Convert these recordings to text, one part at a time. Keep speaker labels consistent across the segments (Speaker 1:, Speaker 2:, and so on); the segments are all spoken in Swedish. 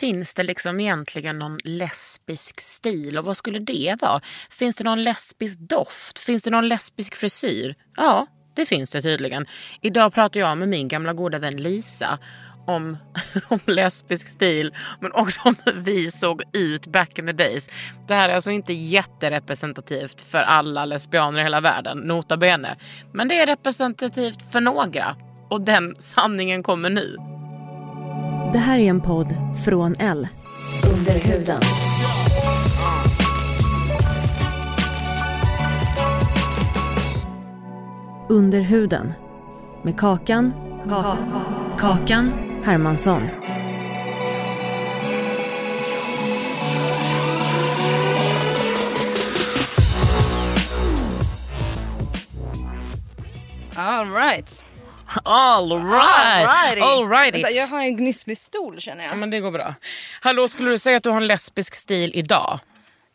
Speaker 1: Finns det liksom egentligen någon lesbisk stil och vad skulle det vara? Finns det någon lesbisk doft? Finns det någon lesbisk frisyr? Ja, det finns det tydligen. Idag pratar jag med min gamla goda vän Lisa om, om lesbisk stil men också om hur vi såg ut back in the days. Det här är alltså inte jätterepresentativt för alla lesbianer i hela världen, nota bene. Men det är representativt för några och den sanningen kommer nu.
Speaker 2: Det här är en podd från L.
Speaker 3: Under huden.
Speaker 2: Under huden. Med Kakan. kakan. Hermansson.
Speaker 4: All right.
Speaker 1: All right!
Speaker 4: Alrighty.
Speaker 1: All righty.
Speaker 4: Vänta, jag har en gnisslig stol känner
Speaker 1: Ja,
Speaker 4: jag.
Speaker 1: men det går bra. Hallå, skulle du säga att du har en lesbisk stil idag?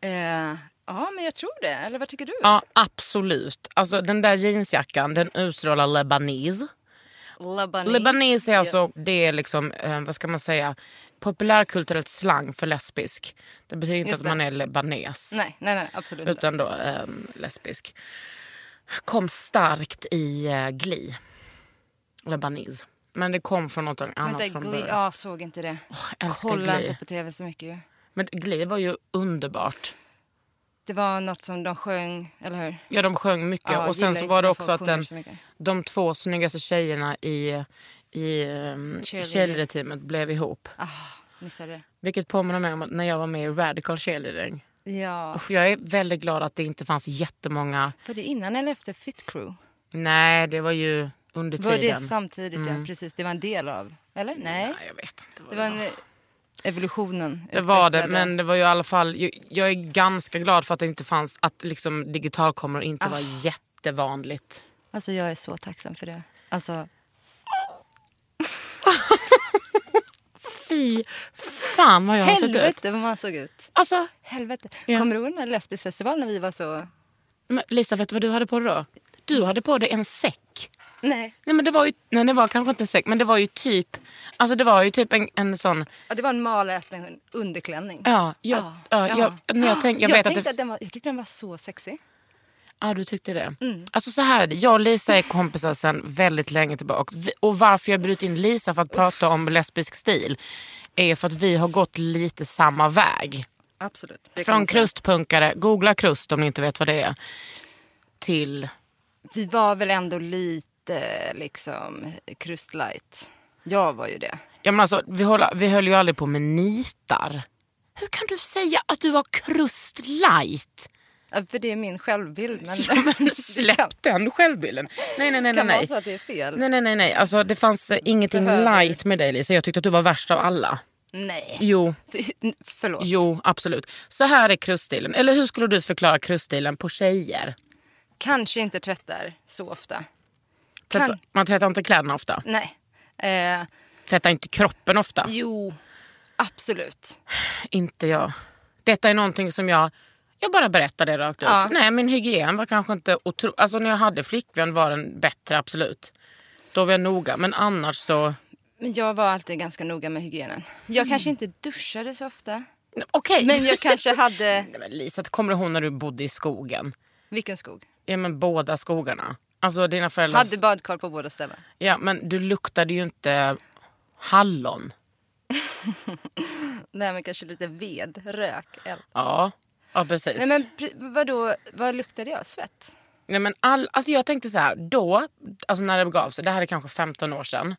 Speaker 4: Eh, ja, men jag tror det. Eller vad tycker du?
Speaker 1: Ja, absolut. Alltså den där jeansjackan, den utstrålar lebanes.
Speaker 4: Lebanese.
Speaker 1: Lebanes är alltså, det är liksom, eh, vad ska man säga, populärkulturellt slang för lesbisk. Det betyder inte
Speaker 4: Just
Speaker 1: att man är lebanes.
Speaker 4: Nej, nej, nej, absolut inte.
Speaker 1: Utan då eh, lesbisk. Kom starkt i eh, Glee. Lebanes. Men det kom från något annat
Speaker 4: Vänta,
Speaker 1: från
Speaker 4: Glee,
Speaker 1: början.
Speaker 4: ja, såg inte det.
Speaker 1: jag älskar
Speaker 4: Kolla
Speaker 1: Glee.
Speaker 4: inte på tv så mycket ju.
Speaker 1: Men Glee var ju underbart.
Speaker 4: Det var något som de sjöng, eller hur?
Speaker 1: Ja, de sjöng mycket.
Speaker 4: Ja,
Speaker 1: och sen
Speaker 4: gillar
Speaker 1: så
Speaker 4: inte
Speaker 1: var det
Speaker 4: när
Speaker 1: också
Speaker 4: folk
Speaker 1: att
Speaker 4: sjunger
Speaker 1: den,
Speaker 4: så mycket.
Speaker 1: de två snyggaste tjejerna i, i um,
Speaker 4: Cheerleader.
Speaker 1: cheerleader-teamet blev ihop.
Speaker 4: Missade
Speaker 1: Vilket påminner mig om att när jag var med i Radical cheerleading.
Speaker 4: det. Ja.
Speaker 1: Usch, jag är väldigt glad att det inte fanns jättemånga.
Speaker 4: Var det innan eller efter Fit Crew?
Speaker 1: Nej, det var ju under
Speaker 4: Var det
Speaker 1: tiden.
Speaker 4: samtidigt? Ja, precis. Det var en del av, eller? Mm. Nej.
Speaker 1: Nej, jag vet inte. Vad
Speaker 4: Det var en, eh, evolutionen.
Speaker 1: Det var det,
Speaker 4: utvecklade-
Speaker 1: men det var ju i alla fall... ju- Jag är ganska glad för att det inte fanns... Att liksom digitalkameror
Speaker 4: Ah.
Speaker 1: inte var jättevanligt.
Speaker 4: Alltså jag är så tacksam för det. Alltså,
Speaker 1: Fy fan vad jag har sett ut.
Speaker 4: helvete vad man såg ut.
Speaker 1: Alltså,
Speaker 4: Helvete.
Speaker 1: Ja.
Speaker 4: Kommer du ihåg den här lesbisk festival när vi var så...
Speaker 1: Men Lisa, vet du vad du hade på dig då? Du hade på dig en säck.
Speaker 4: Nej.
Speaker 1: Nej, men det var ju, nej, det var kanske inte en säck, men det var ju typ, alltså det var ju typ en, en sån,
Speaker 4: Ja, det var en malätning underklänning.
Speaker 1: ja, jag, ja, jag, när jag, tänk, jag,
Speaker 4: Ah, jag
Speaker 1: vet
Speaker 4: tänkte
Speaker 1: att det,
Speaker 4: den var, jag tyckte den var så sexig.
Speaker 1: ja, du tyckte det.
Speaker 4: Mm.
Speaker 1: Alltså så här är det, jag och Lisa är kompisar sedan väldigt länge tillbaka. Vi- Och varför jag bjudit in Lisa för att prata om lesbisk stil är för att vi har gått lite samma väg.
Speaker 4: Absolut. Det kan
Speaker 1: Från
Speaker 4: man säga.
Speaker 1: krustpunkare, googla krust om ni inte vet vad det är, till
Speaker 4: Vi var väl ändå lite liksom krustlight. Jag var ju det.
Speaker 1: Ja, men alltså, vi, hålla, vi höll ju aldrig på med nitar. Hur kan du säga att du var krust light?
Speaker 4: Ja, För det är min självbild. Men,
Speaker 1: Ja, men
Speaker 4: det kan,
Speaker 1: släpp den självbilden. Nej, nej, nej.
Speaker 4: kan
Speaker 1: nej,
Speaker 4: vara så
Speaker 1: nej.
Speaker 4: att det är fel.
Speaker 1: Nej, nej, nej, nej. Alltså, det fanns eh, ingenting
Speaker 4: Behöver.
Speaker 1: light med dig Lisa. Jag tyckte att du var värst av alla.
Speaker 4: Nej.
Speaker 1: Jo,
Speaker 4: För, förlåt.
Speaker 1: jo, absolut. Så här är kruststilen. Eller hur skulle du förklara kruststilen på tjejer?
Speaker 4: Kanske inte tvättar så ofta.
Speaker 1: Tvätta-
Speaker 4: Kan-
Speaker 1: Man tvättar inte kläderna ofta.
Speaker 4: Nej. Eh,
Speaker 1: Tvättar inte kroppen ofta.
Speaker 4: jo, absolut.
Speaker 1: Inte jag. Detta är någonting som jag... Jag bara berättar det rakt ut.
Speaker 4: Ja.
Speaker 1: Nej, min hygien var kanske inte otro... Alltså när jag hade flickvän var den bättre, absolut. Då var jag noga. Men annars så...
Speaker 4: Men jag var alltid ganska noga med hygienen. Jag kanske
Speaker 1: Mm.
Speaker 4: inte duschade så ofta.
Speaker 1: Okej.
Speaker 4: Men jag kanske hade...
Speaker 1: Nej, men Lisa, kommer du ihåg när du bodde i skogen?
Speaker 4: Vilken skog?
Speaker 1: Ja, men båda skogarna. Alltså dina föräldrar...
Speaker 4: Hade badkar på båda ställen.
Speaker 1: Ja, men du luktade ju inte hallon.
Speaker 4: Nej, men kanske lite ved, rök, eld.
Speaker 1: Ja, ja precis.
Speaker 4: Nej, men pr- vadå, vad luktar det av? Svett?
Speaker 1: Nej, men all, alltså jag tänkte så här, då, alltså när det begav sig, det här är kanske 15 år sedan.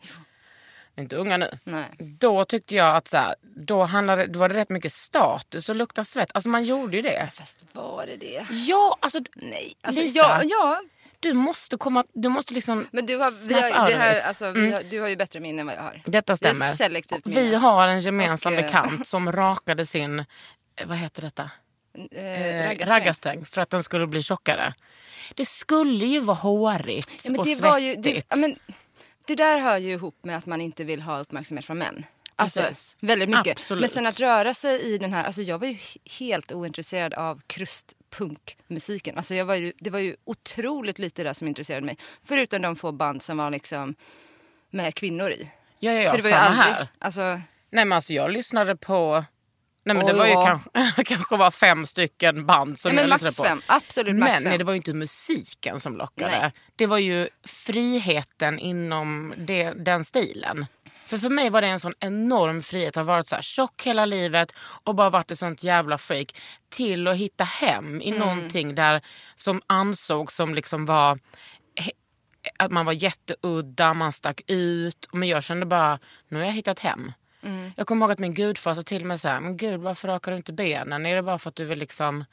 Speaker 1: Vi är Inte unga nu.
Speaker 4: Nej.
Speaker 1: Då tyckte jag att så här, då, handlade, då var det rätt mycket status och lukta svett. Alltså man gjorde ju det.
Speaker 4: Fast var det det?
Speaker 1: Ja, alltså
Speaker 4: Nej. Alltså,
Speaker 1: Lisa.
Speaker 4: Ja, ja.
Speaker 1: du måste komma, du måste liksom Mm.
Speaker 4: Men du har, vi
Speaker 1: snap
Speaker 4: har,
Speaker 1: out
Speaker 4: det
Speaker 1: of
Speaker 4: här,
Speaker 1: it.
Speaker 4: alltså, vi har, du har ju bättre minne än vad jag har.
Speaker 1: Detta
Speaker 4: Det är
Speaker 1: stämmer.
Speaker 4: selektivt minne.
Speaker 1: Vi har en gemensam
Speaker 4: Och, eh,
Speaker 1: bekant som rakade sin, eh, vad heter detta?
Speaker 4: Eh,
Speaker 1: Eh,
Speaker 4: raggarsträng.
Speaker 1: raggarsträng för att den skulle bli tjockare. Det skulle ju vara hårigt
Speaker 4: Ja, men
Speaker 1: och
Speaker 4: det
Speaker 1: svettigt.
Speaker 4: var ju, det, ja, men, det där hör ju ihop med att man inte vill ha uppmärksamhet från män. Alltså,
Speaker 1: Precis.
Speaker 4: väldigt mycket.
Speaker 1: Absolut.
Speaker 4: Men sen att röra sig i den här... Alltså jag var ju he- helt ointresserad av krustpunkmusiken. Alltså jag var ju, det var ju otroligt lite där som intresserade mig. Förutom de få band som var liksom med kvinnor i.
Speaker 1: ja, ja, ja,
Speaker 4: För det var ju
Speaker 1: samma
Speaker 4: aldrig...
Speaker 1: här.
Speaker 4: Alltså,
Speaker 1: Nej men alltså jag lyssnade på Nej men
Speaker 4: Oj,
Speaker 1: det var ju
Speaker 4: ja.
Speaker 1: kanske, kanske var fem stycken band som
Speaker 4: nej, men
Speaker 1: jag lyssnade
Speaker 4: max
Speaker 1: på.
Speaker 4: fem. Absolut max
Speaker 1: Men
Speaker 4: fem.
Speaker 1: nej, det var ju inte musiken som lockade.
Speaker 4: Nej.
Speaker 1: Det var ju friheten inom det, den stilen. För för mig var det en sån enorm frihet att ha varit så här tjock hela livet och bara varit ett sånt jävla freak. Till att hitta hem i någonting där som ansågs som liksom var he- att man var jätteudda, man stack ut. Men jag kände bara, nu har jag hittat hem. Jag kommer ihåg att min gudfar sa till mig så här, men gud varför rakar du inte benen? Är det bara för att du vill liksom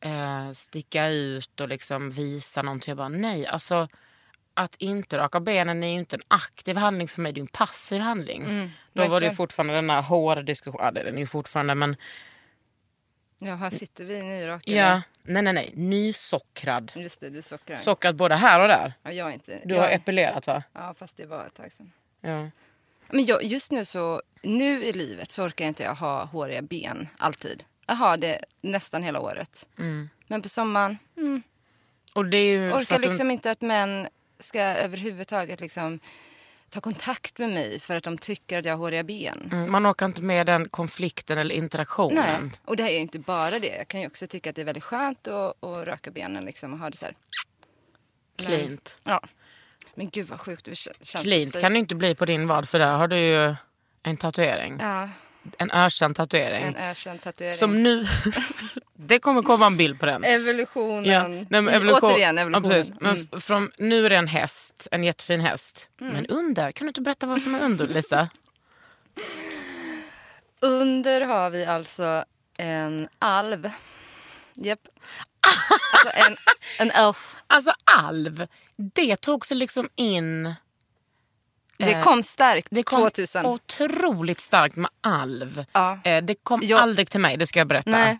Speaker 1: eh, sticka ut och liksom visa någonting. Jag bara nej, alltså att inte raka benen är ju inte en aktiv handling för mig, det är ju en passiv handling. Då var det ju
Speaker 4: Mm, verkligen.
Speaker 1: fortfarande den här hårdiskussionen, ja, det är den ju fortfarande men
Speaker 4: Ja, här sitter vi nyrakade.
Speaker 1: ja, nej nej nej, nysockrad.
Speaker 4: Just det, du sockrar.
Speaker 1: Sockrad både här och där.
Speaker 4: ja, jag är inte...
Speaker 1: Du
Speaker 4: jag,
Speaker 1: har epilerat va?
Speaker 4: Ja, fast det var ett tag sedan.
Speaker 1: Ja.
Speaker 4: Men jag, just nu så, nu i livet så orkar inte jag ha håriga ben alltid. Jag har det nästan hela året. Men på sommaren mm,
Speaker 1: Och det är ju Mm, för
Speaker 4: orkar
Speaker 1: att du-
Speaker 4: liksom inte att män ska överhuvudtaget liksom ta kontakt med mig för att de tycker att jag har håriga ben.
Speaker 1: Mm, man orkar inte med den konflikten eller interaktionen.
Speaker 4: Nej. Och det här är inte bara det. Jag kan ju också tycka att det är väldigt skönt att, att röka benen liksom och ha det så här.
Speaker 1: Cleant.
Speaker 4: Ja. Men gud vad sjukt det kän- känns.
Speaker 1: Cleant kan det inte bli på din vad för där har du ju en tatuering.
Speaker 4: Ja,
Speaker 1: En ökänd tatuering.
Speaker 4: en ökänd tatuering.
Speaker 1: Som nu... det kommer komma en bild på den.
Speaker 4: Evolutionen.
Speaker 1: Nej, men evolution-
Speaker 4: Återigen Mm.
Speaker 1: Ja,
Speaker 4: evolutionen.
Speaker 1: precis. Men f- från, nu är det en häst, en jättefin häst.
Speaker 4: Mm.
Speaker 1: Men under, kan du inte berätta vad som är under Lisa?
Speaker 4: Under har vi alltså en alv. Japp. Alltså en, en elf.
Speaker 1: Alltså alv, det tog sig liksom in...
Speaker 4: Eh, Det kom starkt
Speaker 1: Det kom
Speaker 4: 2000.
Speaker 1: otroligt starkt med alv.
Speaker 4: Ja.
Speaker 1: Eh, det kom
Speaker 4: Jag-
Speaker 1: aldrig till mig, det ska jag berätta.
Speaker 4: Nej.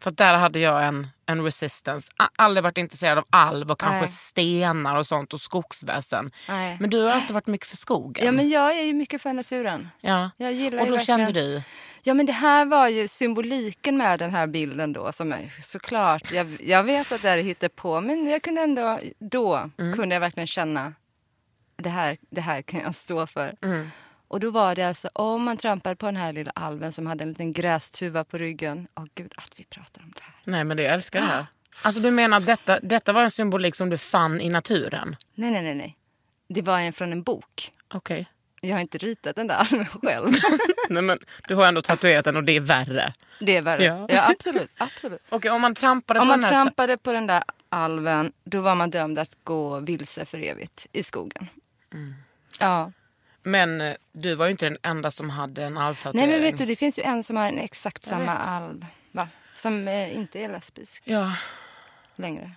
Speaker 1: För att där hade jag en, en resistance. A- Aldrig varit intresserad av alv och kanske
Speaker 4: Nej.
Speaker 1: stenar och sånt och skogsväsen.
Speaker 4: Nej.
Speaker 1: Men du har alltid varit mycket för skogen.
Speaker 4: Ja, men jag är ju mycket för naturen.
Speaker 1: Ja.
Speaker 4: Jag gillar
Speaker 1: och
Speaker 4: ju
Speaker 1: då
Speaker 4: verkligen-
Speaker 1: kände du?
Speaker 4: Ja, men det här var ju symboliken med den här bilden då som är såklart, jag, jag vet att det här hittar på men jag kunde ändå, då kunde jag verkligen känna det här, det här kan jag stå för. Och då var det alltså om man trampade på den här lilla alven som hade en liten grästuva på ryggen. Åh gud, att vi pratar om det här.
Speaker 1: Nej men det, jag älskar det här. Alltså du menar att detta, detta var en symbolik som du fann i naturen?
Speaker 4: Nej, nej, nej, nej. Det var en från en bok.
Speaker 1: Okej.
Speaker 4: Jag har inte ritat den där alven själv.
Speaker 1: Nej men du har ändå tatuerat den och det är värre.
Speaker 4: Det är värre.
Speaker 1: Ja.
Speaker 4: Ja, absolut, absolut.
Speaker 1: Okej om man trampade
Speaker 4: Om
Speaker 1: på
Speaker 4: man
Speaker 1: den här... tra-
Speaker 4: trampade på den där alven, då var man dömd att gå vilse för evigt i skogen. Ja.
Speaker 1: Men eh, du var ju inte den enda som hade en alvtatuering.
Speaker 4: Nej, men vet du, det finns ju en som har en exakt samma alv, va? Som eh, inte är lesbisk
Speaker 1: Ja.
Speaker 4: längre.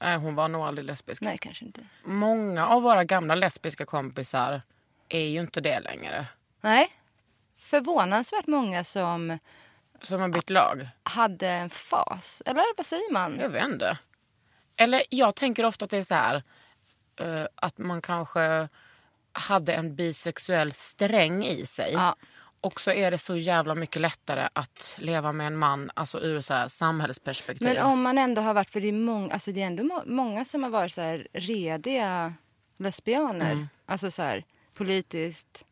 Speaker 1: Nej, hon var nog aldrig lesbisk.
Speaker 4: Nej, kanske inte.
Speaker 1: Många av våra gamla lesbiska kompisar är ju inte det längre.
Speaker 4: Nej. Förvånansvärt många som
Speaker 1: Som har bytt lag.
Speaker 4: hade en fas. Eller vad säger man?
Speaker 1: Jag vet inte. Eller jag tänker ofta att det är så här eh, att man kanske hade en bisexuell sträng i sig.
Speaker 4: Ja.
Speaker 1: Och så är det så jävla mycket lättare att leva med en man alltså ur så här samhällsperspektiv.
Speaker 4: Men om man ändå har varit, för det är, mång, alltså det är ändå må, många som har varit så här rediga lesbianer.
Speaker 1: Mm.
Speaker 4: Alltså så här politiskt,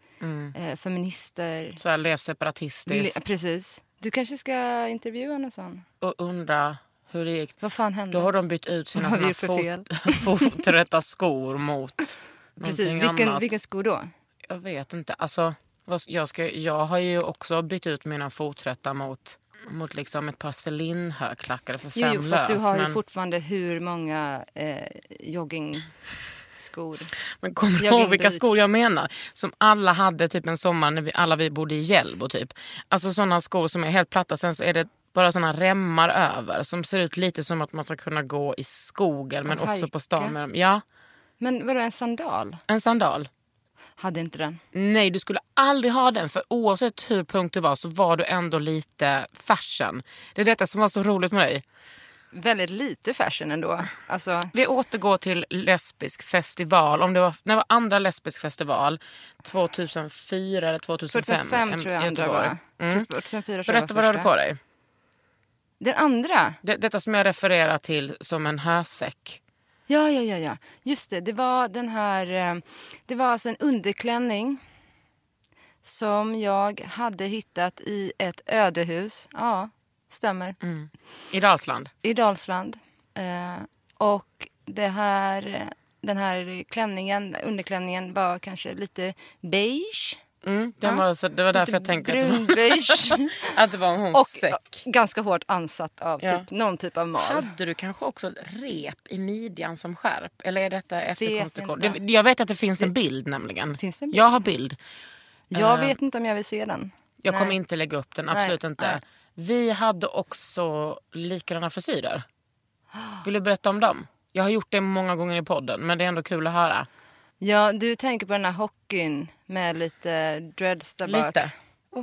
Speaker 4: eh, feminister.
Speaker 1: Så här, lev separatistiskt
Speaker 4: Le- precis. Du kanske ska intervjua någon sån?
Speaker 1: och undra hur det gick.
Speaker 4: Vad fan hände?
Speaker 1: Då har de bytt ut sina
Speaker 4: Vad har vi
Speaker 1: såna
Speaker 4: gjort för fel?
Speaker 1: fot, foträtta skor mot
Speaker 4: precis.
Speaker 1: någonting
Speaker 4: Vilken,
Speaker 1: annat.
Speaker 4: vilken sko då?
Speaker 1: Jag vet inte. Alltså, Vad ska- Jag, ska, jag har ju också bytt ut mina foträtta mot, mot liksom ett par cylinderklackar för
Speaker 4: Jo,
Speaker 1: fem
Speaker 4: jo, fast du
Speaker 1: lök,
Speaker 4: har ju
Speaker 1: men-
Speaker 4: fortfarande hur många eh, joggingskor?
Speaker 1: Men kommer du
Speaker 4: Jag
Speaker 1: ihåg
Speaker 4: ringde
Speaker 1: vilka
Speaker 4: hit.
Speaker 1: skor jag menar? Som alla hade typ en sommar när vi, alla vi bodde i Hjällbo. Typ. Alltså sådana skor som är helt platta. Sen så är det bara såna remmar över som ser ut lite som att man ska kunna gå i skogen men
Speaker 4: Och
Speaker 1: också på stan
Speaker 4: hajka.
Speaker 1: med dem. Ja,
Speaker 4: Men vadå, en sandal?
Speaker 1: en sandal.
Speaker 4: Hade inte den?
Speaker 1: Nej, du skulle aldrig ha den för oavsett hur punkt du var så var du ändå lite fashion. Det är detta som var så roligt med dig.
Speaker 4: Väldigt lite fashion ändå. Alltså,
Speaker 1: Vi återgår till lesbisk festival. Om det var, när var andra lesbisk festival? 2004 eller 2005?
Speaker 4: 2005
Speaker 1: em,
Speaker 4: tror
Speaker 1: i
Speaker 4: jag andra
Speaker 1: Göteborg.
Speaker 4: var. Typ,
Speaker 1: Mm.
Speaker 4: 2004 tror jag
Speaker 1: Berätta vad du hade på dig.
Speaker 4: Den andra?
Speaker 1: Det, detta som jag refererar till som en hösäck.
Speaker 4: Ja, ja, ja, ja. Just det, det var den här... eh, Det var alltså en underklänning som jag hade hittat i ett ödehus. Ja, stämmer.
Speaker 1: Mm. I Dalsland.
Speaker 4: I Dalsland. Eh, och det här, den här klänningen, underklänningen var kanske lite beige.
Speaker 1: Mm, den var, så, det var därför jag tänkte att det var,
Speaker 4: Brunbeige.
Speaker 1: att det var en
Speaker 4: och
Speaker 1: honsäck.
Speaker 4: ganska hårt ansatt av
Speaker 1: Ja.
Speaker 4: typ, någon typ av mal.
Speaker 1: Hade du kanske också ett rep i midjan som skärp? Eller är detta efterkonstruktion?
Speaker 4: inte.
Speaker 1: Det- Jag vet att det finns en bild nämligen.
Speaker 4: Finns det en bild?
Speaker 1: Jag har bild.
Speaker 4: Jag
Speaker 1: Eh.
Speaker 4: vet inte om jag vill se den.
Speaker 1: Jag
Speaker 4: Nej.
Speaker 1: kommer inte lägga upp den, absolut
Speaker 4: Nej,
Speaker 1: inte.
Speaker 4: nej.
Speaker 1: Vi hade också likadana frisyrer. Vill du berätta om dem? Jag har gjort det många gånger i podden men det är ändå kul att höra.
Speaker 4: Ja, du tänker på den här hockeyn med lite dreads där bak.
Speaker 1: Lite. Ja,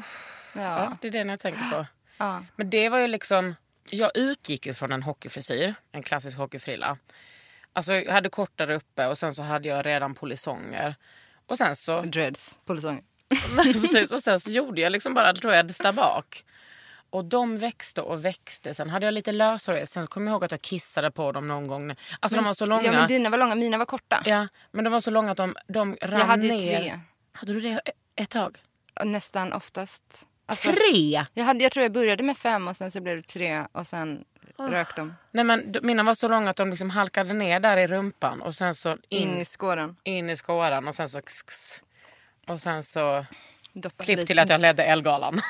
Speaker 4: Ja.
Speaker 1: det är den jag tänker på.
Speaker 4: Ja.
Speaker 1: Men det var ju liksom... Jag utgick ju från en hockeyfrisyr, en klassisk hockeyfrilla. Alltså jag hade kortare uppe och sen så hade jag redan polisonger. Och sen så,
Speaker 4: Dreads, polisonger.
Speaker 1: precis, och sen så gjorde jag liksom bara dreads där bak. Och de växte och växte. Sen hade jag lite löshår. Sen kommer jag ihåg att jag kissade på dem någon gång. Alltså de var så långa.
Speaker 4: Ja, men dina var långa, mina var korta.
Speaker 1: Ja, men de var så långa att de, de rann
Speaker 4: jag hade ju
Speaker 1: ner.
Speaker 4: tre,
Speaker 1: Hade du det e-, ett tag?
Speaker 4: nästan oftast. Alltså,
Speaker 1: Tre?
Speaker 4: Jag, hade, jag tror jag började med fem och sen så blev det tre och sen
Speaker 1: Ah.
Speaker 4: rök de
Speaker 1: Nej, men d- mina var så långa att de liksom halkade ner där i rumpan och sen så in,
Speaker 4: in i skåren.
Speaker 1: in i skåran och sen så x, x. Och sen så
Speaker 4: Doppa
Speaker 1: klipp
Speaker 4: lite.
Speaker 1: till att jag ledde Elgalan.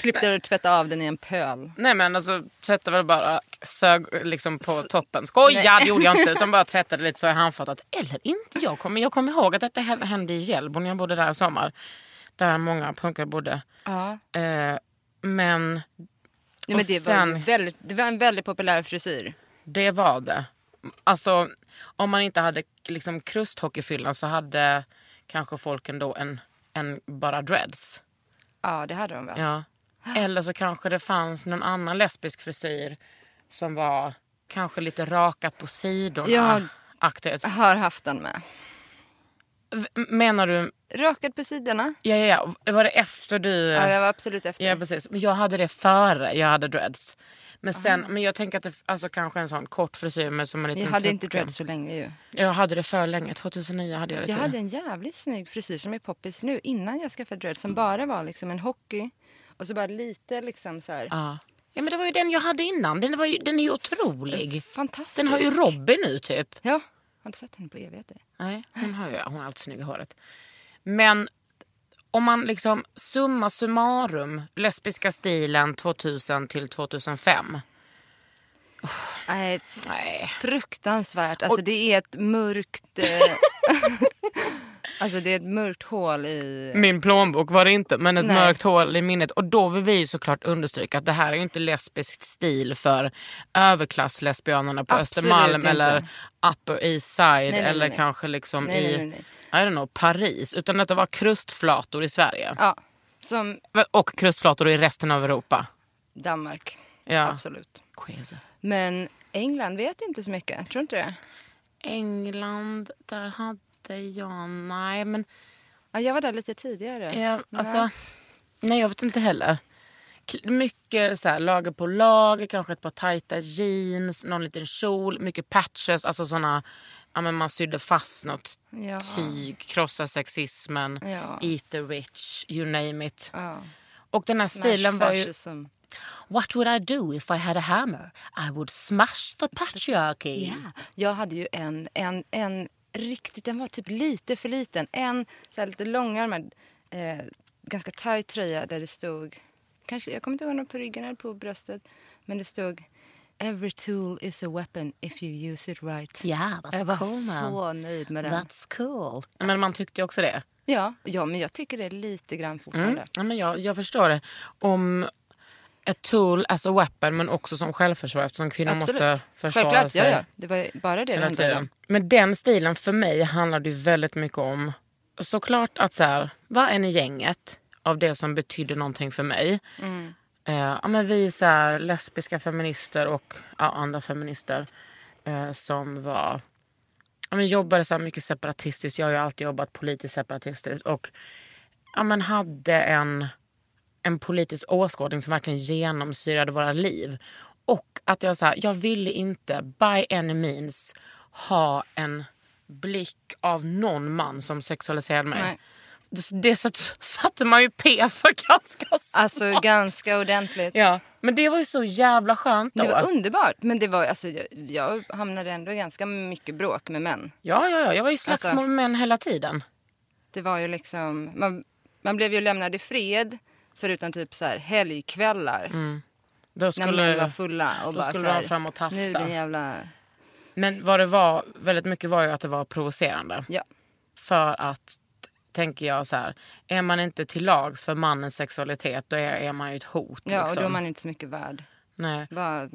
Speaker 4: Klippte och tvättade av den i en pöl.
Speaker 1: Nej men alltså tvättade väl bara, sög liksom på toppen. Skoja det gjorde jag inte utan bara tvättade lite så i handfatet. Eller inte jag kommer, jag kommer ihåg att detta hä- hände i Hjällbo när jag bodde där i sommar. Där många punkare bodde.
Speaker 4: Ja.
Speaker 1: Eh, men
Speaker 4: Ja, men
Speaker 1: Och
Speaker 4: det, var
Speaker 1: sen-
Speaker 4: ju väldigt, det var en väldigt populär frisyr.
Speaker 1: Det var det. Alltså, om man inte hade liksom krusthockeyfyllan så hade kanske folk ändå en, en bara dreads.
Speaker 4: Ja, det hade de väl.
Speaker 1: Ja. Eller så kanske det fanns någon annan lesbisk frisyr som var kanske lite rakat på sidorna.
Speaker 4: Ja.
Speaker 1: Aktigt.
Speaker 4: Har haft den med.
Speaker 1: V- Menar du...
Speaker 4: Rökad på sidorna.
Speaker 1: Ja, ja, ja. Var det efter du...
Speaker 4: Ja, det var absolut efter.
Speaker 1: Ja precis. Men jag hade det före jag hade dreads. Men sen, men jag tänker att det alltså, kanske en sån kort frisyr men som en liten
Speaker 4: jag hade inte
Speaker 1: tuppkam.
Speaker 4: dreads så länge ju.
Speaker 1: Jag hade det för länge. 2009 hade jag det
Speaker 4: Jag
Speaker 1: tror
Speaker 4: hade en jävligt snygg frisyr som är poppis nu innan jag skaffade dreads som bara var liksom en hockey och så bara lite liksom så här.
Speaker 1: Ja. ja men det var ju den jag hade innan. Den, var ju, den är ju otrolig.
Speaker 4: eh, Fantastisk.
Speaker 1: Den har ju Robin nu typ.
Speaker 4: Ja, har inte sett den på evigheter.
Speaker 1: Nej, hon har ju hon har alltid snygg i håret. Men om man liksom summa summarum, lesbiska stilen 2000 till 2005.
Speaker 4: Nej,
Speaker 1: Nej.
Speaker 4: fruktansvärt. Alltså det är ett mörkt... eh, alltså det är ett mörkt hål i...
Speaker 1: Min plånbok var det inte, men ett
Speaker 4: Nej.
Speaker 1: mörkt hål i minnet. Och då vill vi ju såklart understryka att det här är ju inte lesbisk stil för överklasslesbianerna på
Speaker 4: Absolut
Speaker 1: Östermalm
Speaker 4: inte.
Speaker 1: eller Upper East Side
Speaker 4: nej,
Speaker 1: eller
Speaker 4: nej.
Speaker 1: kanske liksom
Speaker 4: Nej,
Speaker 1: i
Speaker 4: nej, nej, nej.
Speaker 1: I don't know, Paris. Utan att det var krustflator i Sverige.
Speaker 4: Ja, som
Speaker 1: Och krustflator i resten av Europa.
Speaker 4: Danmark.
Speaker 1: Ja.
Speaker 4: Absolut. Men England vet inte så mycket. Tror inte det?
Speaker 1: England, där hade jag... Nej, men...
Speaker 4: Ja, jag var där lite tidigare.
Speaker 1: Jag,
Speaker 4: Nej.
Speaker 1: alltså, nej, jag vet inte heller. K- Mycket så här, lager på lager, kanske ett par tajta jeans, någon liten kjol, mycket patches. Alltså såna, ja, men man sydde fast något
Speaker 4: Ja.
Speaker 1: tyg, krossa sexismen,
Speaker 4: Ja.
Speaker 1: eat the rich, you name it.
Speaker 4: Ja.
Speaker 1: Och den här stilen var ju...
Speaker 4: Fascism.
Speaker 1: What would I do if I had a hammer? I would smash the patriarchy.
Speaker 4: Ja, jag hade ju en, en, en riktigt, den var typ lite för liten. En så här, lite långärmad, eh, ganska tajt tröja där det stod, kanske, jag kommer inte ihåg om det var på ryggen eller på bröstet, men det stod Every tool is a weapon if you use it right.
Speaker 1: Yeah, that's
Speaker 4: jag var
Speaker 1: cool, man.
Speaker 4: så nöjd med den.
Speaker 1: That's cool. Men man tyckte ju också det.
Speaker 4: Ja, ja, men jag tycker det är lite grann fortfarande.
Speaker 1: Ja, men jag, jag förstår det. Om a tool as a weapon men också som självförsvar eftersom kvinnor måste försvara
Speaker 4: Självklart,
Speaker 1: sig.
Speaker 4: ja, ja. Det var ju bara det det
Speaker 1: hela
Speaker 4: handlade
Speaker 1: tiden.
Speaker 4: om.
Speaker 1: Men den stilen för mig handlar det ju väldigt mycket om såklart att så här, vad är ni gänget av det som betydde någonting för mig?
Speaker 4: Mm.
Speaker 1: Eh, ja, men vi är så här, lesbiska feminister och ja, andra feminister eh, som var ja, men jobbade så här mycket separatistiskt. Jag har ju alltid jobbat politiskt separatistiskt. Och ja, men hade en, en politisk åskådning som verkligen genomsyrade våra liv. Och att jag, så här, jag ville inte by any means ha en blick av någon man som sexualiserade mig.
Speaker 4: Nej.
Speaker 1: Det, det satt, satte man ju P för ganska snabbt.
Speaker 4: Alltså ganska ordentligt.
Speaker 1: Ja, men det var ju så jävla skönt då.
Speaker 4: Det var underbart. Men det var, alltså, jag, jag hamnade ändå i ganska mycket bråk med män.
Speaker 1: ja, ja, ja, jag var ju i slagsmål
Speaker 4: Alltså-
Speaker 1: med män hela tiden.
Speaker 4: Det var ju liksom... Man, man blev ju lämnad i fred förutom typ så här helgkvällar
Speaker 1: Då
Speaker 4: när män var
Speaker 1: Mm. skulle,
Speaker 4: fulla. Och
Speaker 1: då
Speaker 4: bara
Speaker 1: skulle
Speaker 4: så här,
Speaker 1: de fram och tafsa.
Speaker 4: Nu den jävla...
Speaker 1: Men vad det var, väldigt mycket var ju att det var provocerande.
Speaker 4: Ja.
Speaker 1: För att, tänker jag så här, är man inte till lags för mannens sexualitet då är, är man ju ett hot.
Speaker 4: ja, och då
Speaker 1: liksom.
Speaker 4: är man inte så mycket värd.
Speaker 1: Nej.
Speaker 4: Bara,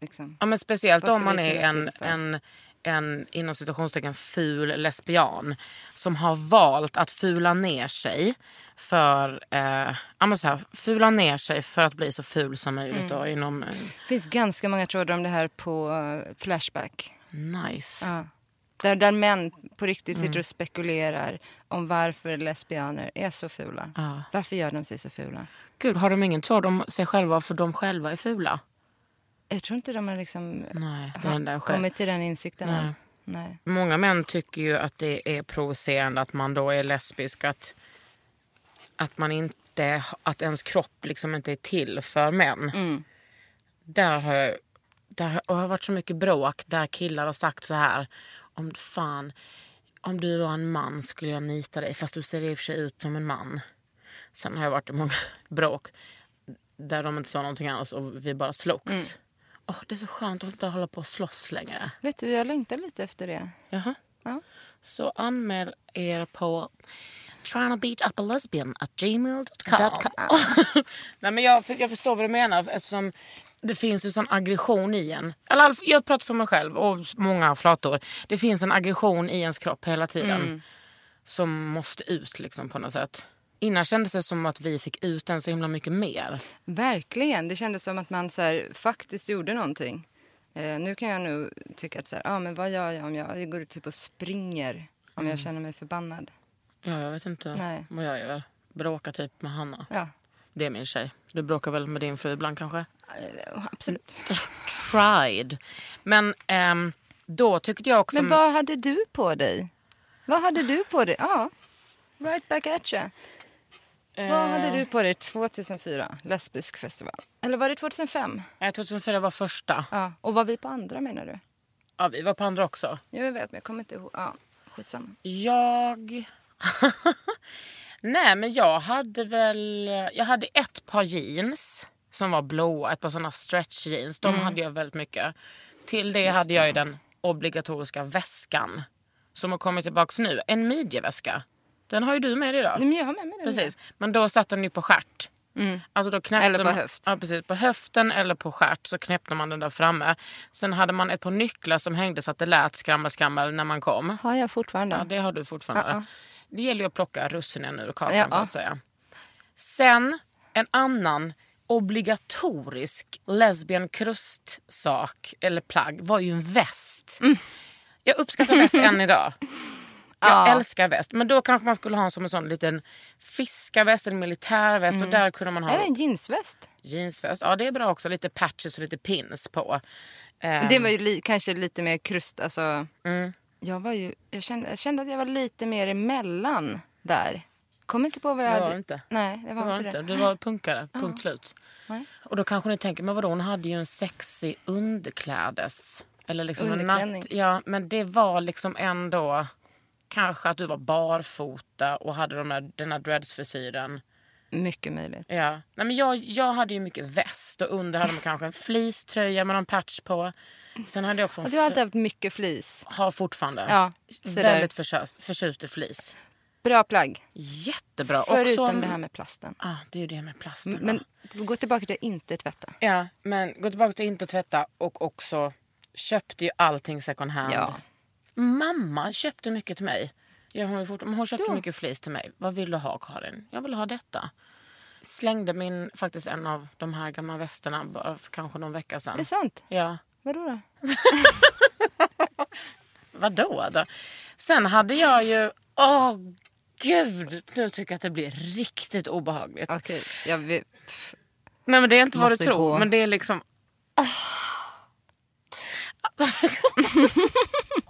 Speaker 4: liksom.
Speaker 1: Ja, men speciellt
Speaker 4: Vad
Speaker 1: om
Speaker 4: ska
Speaker 1: man
Speaker 4: vi
Speaker 1: är
Speaker 4: finnas
Speaker 1: en,
Speaker 4: till för?
Speaker 1: en, en inom citationstecken ful lesbian som har valt att fula ner sig för, eh, ja, men så här, fula ner sig för att bli så ful som möjligt.
Speaker 4: Mm.
Speaker 1: Då, inom, eh,
Speaker 4: Det finns ganska många trådar om det här på eh, Flashback.
Speaker 1: nice.
Speaker 4: Ja. Där, där män på riktigt
Speaker 1: Mm.
Speaker 4: sitter och spekulerar om varför lesbianer är så fula.
Speaker 1: Ja.
Speaker 4: Varför gör de sig så fula?
Speaker 1: Gud, har de ingen tråd om sig själva för de själva är fula?
Speaker 4: Jag tror inte de har liksom
Speaker 1: Nej,
Speaker 4: har
Speaker 1: den där själv.
Speaker 4: kommit till den insikten än. Nej.
Speaker 1: Många män tycker ju att det är provocerande att man då är lesbisk. Att, att, man inte, att ens kropp liksom inte är till för män. Där, har jag, där har- och har varit så mycket bråk där killar har sagt så här. Om fan, om du var en man skulle jag nita dig fast du ser i och för sig ut som en man. Sen har jag varit i många bråk där de inte sa någonting annat och vi bara slogs. Åh, det är så skönt att inte hålla på och slåss längre.
Speaker 4: Vet du, jag längtar lite efter det.
Speaker 1: Jaha.
Speaker 4: Ja.
Speaker 1: Så anmäl er på tryingtobeatupalesbian.gmail.com Nej men jag, jag förstår vad du menar eftersom det finns ju sån aggression i en. Eller, i alla fall, jag pratar för mig själv och många flator. Det finns en aggression i ens kropp hela tiden
Speaker 4: Mm.
Speaker 1: som måste ut liksom på något sätt. Innan kändes det som att vi fick ut den så himla mycket mer.
Speaker 4: Verkligen. Det kändes som att man så här, faktiskt gjorde någonting. Eh, nu kan jag nu tycka att så här, ah, men vad gör jag om jag, jag går ut typ och springer om
Speaker 1: Mm.
Speaker 4: jag känner mig förbannad.
Speaker 1: Ja, jag vet inte
Speaker 4: Nej.
Speaker 1: vad jag gör. Bråkar typ med Hanna.
Speaker 4: Ja,
Speaker 1: Det är min tjej. Du bråkar väl med din fru ibland kanske?
Speaker 4: eh, absolut.
Speaker 1: tried. Men ehm, då tyckte jag också...
Speaker 4: Men vad hade du på dig? Vad hade du på dig? Ja, right back at you. Vad
Speaker 1: Eh.
Speaker 4: hade du på dig 2004, lesbisk festival? Eller var det 2005?
Speaker 1: Eh, 2004 var första.
Speaker 4: Ja. Och var vi på andra menar du?
Speaker 1: Ja, vi var på andra också.
Speaker 4: Jo, jag vet, men jag kommer inte ihåg. Ja, skitsamma.
Speaker 1: Jag... Nej, men jag hade väl... Jag hade ett par jeans som var blåa, ett par såna stretch jeans. De hade jag väldigt mycket. Till det hade jag ju den obligatoriska väskan som har kommit tillbaka nu. En midjeväska. Den har ju du med dig idag.
Speaker 4: Nej, men jag har med mig den.
Speaker 1: Precis. Men då satt den ju på stjärt. Alltså då knäppte
Speaker 4: Eller på
Speaker 1: man-
Speaker 4: höft.
Speaker 1: Ja, precis. På höften eller på stjärt så knäppte man den där framme. Sen hade man ett par nycklar som hängde så att det lät skrammel skrammel när man kom.
Speaker 4: Har jag fortfarande.
Speaker 1: Ja, det har du fortfarande.
Speaker 4: Ja, ja.
Speaker 1: Det gäller ju att plocka russinen ur kakan
Speaker 4: Ja,
Speaker 1: så
Speaker 4: ja.
Speaker 1: att säga. Sen en annan obligatorisk lesbian krustsak eller plagg var ju en väst.
Speaker 4: Mm.
Speaker 1: Jag uppskattar väst än idag. Jag älskar väst. Men då kanske man skulle ha en som en sån liten fiskarväst, en militärväst och där kunde man ha
Speaker 4: Mm. Är det en jeansväst?
Speaker 1: jeansväst. Ja det är bra också, lite patches och lite pins på. Ehm,
Speaker 4: Det var ju li- kanske lite mer krust, alltså.
Speaker 1: Mm.
Speaker 4: Jag, var ju, jag, kände, jag kände att jag var lite mer emellan där. Kommer inte på vad jag
Speaker 1: Det var
Speaker 4: hade-
Speaker 1: inte.
Speaker 4: Nej, det var,
Speaker 1: Det var
Speaker 4: inte
Speaker 1: inte.
Speaker 4: det.
Speaker 1: Du var punkare, punkt slut.
Speaker 4: Nej.
Speaker 1: Och då kanske ni tänker, men vadå hon hade ju en sexig underklädes... Eller liksom en
Speaker 4: Underklänning.
Speaker 1: natt, ja, men det var liksom ändå... kanske att du var barfota och hade de där, den här dreadsfrisyren.
Speaker 4: Mycket möjligt.
Speaker 1: Ja. Nej, men jag, jag hade ju mycket väst och under hade man kanske en fleecetröja med någon patch på. Sen hade jag också en
Speaker 4: Och du har alltid haft mycket flis.
Speaker 1: fr- har fortfarande.
Speaker 4: Ja, så där.
Speaker 1: Väldigt förtjust, förtjust i flis.
Speaker 4: Bra plagg.
Speaker 1: Jättebra.
Speaker 4: Förutom
Speaker 1: också,
Speaker 4: det här med plasten.
Speaker 1: Ah, det är ju det med plasten. va?
Speaker 4: Men gå tillbaka till inte tvätta.
Speaker 1: Ja, men gå tillbaka till inte att tvätta och också köpte ju allting second hand.
Speaker 4: Ja.
Speaker 1: Mamma köpte mycket till mig. Jag, hon, är fort, men hon köpte mycket flis till mig. Vad vill du ha Karin? Jag vill ha detta. Slängde min, faktiskt en av de här gamla västerna bara för kanske någon vecka
Speaker 4: Är
Speaker 1: sedan.
Speaker 4: det sant?
Speaker 1: Ja,
Speaker 4: Vadå då?
Speaker 1: vadå då? Sen hade jag ju, åh gud, nu tycker jag att det blir riktigt obehagligt.
Speaker 4: Okej, jag vill... pff,
Speaker 1: Nej men det är inte vad du
Speaker 4: Måste
Speaker 1: tror,
Speaker 4: gå.
Speaker 1: men det är liksom... Ah.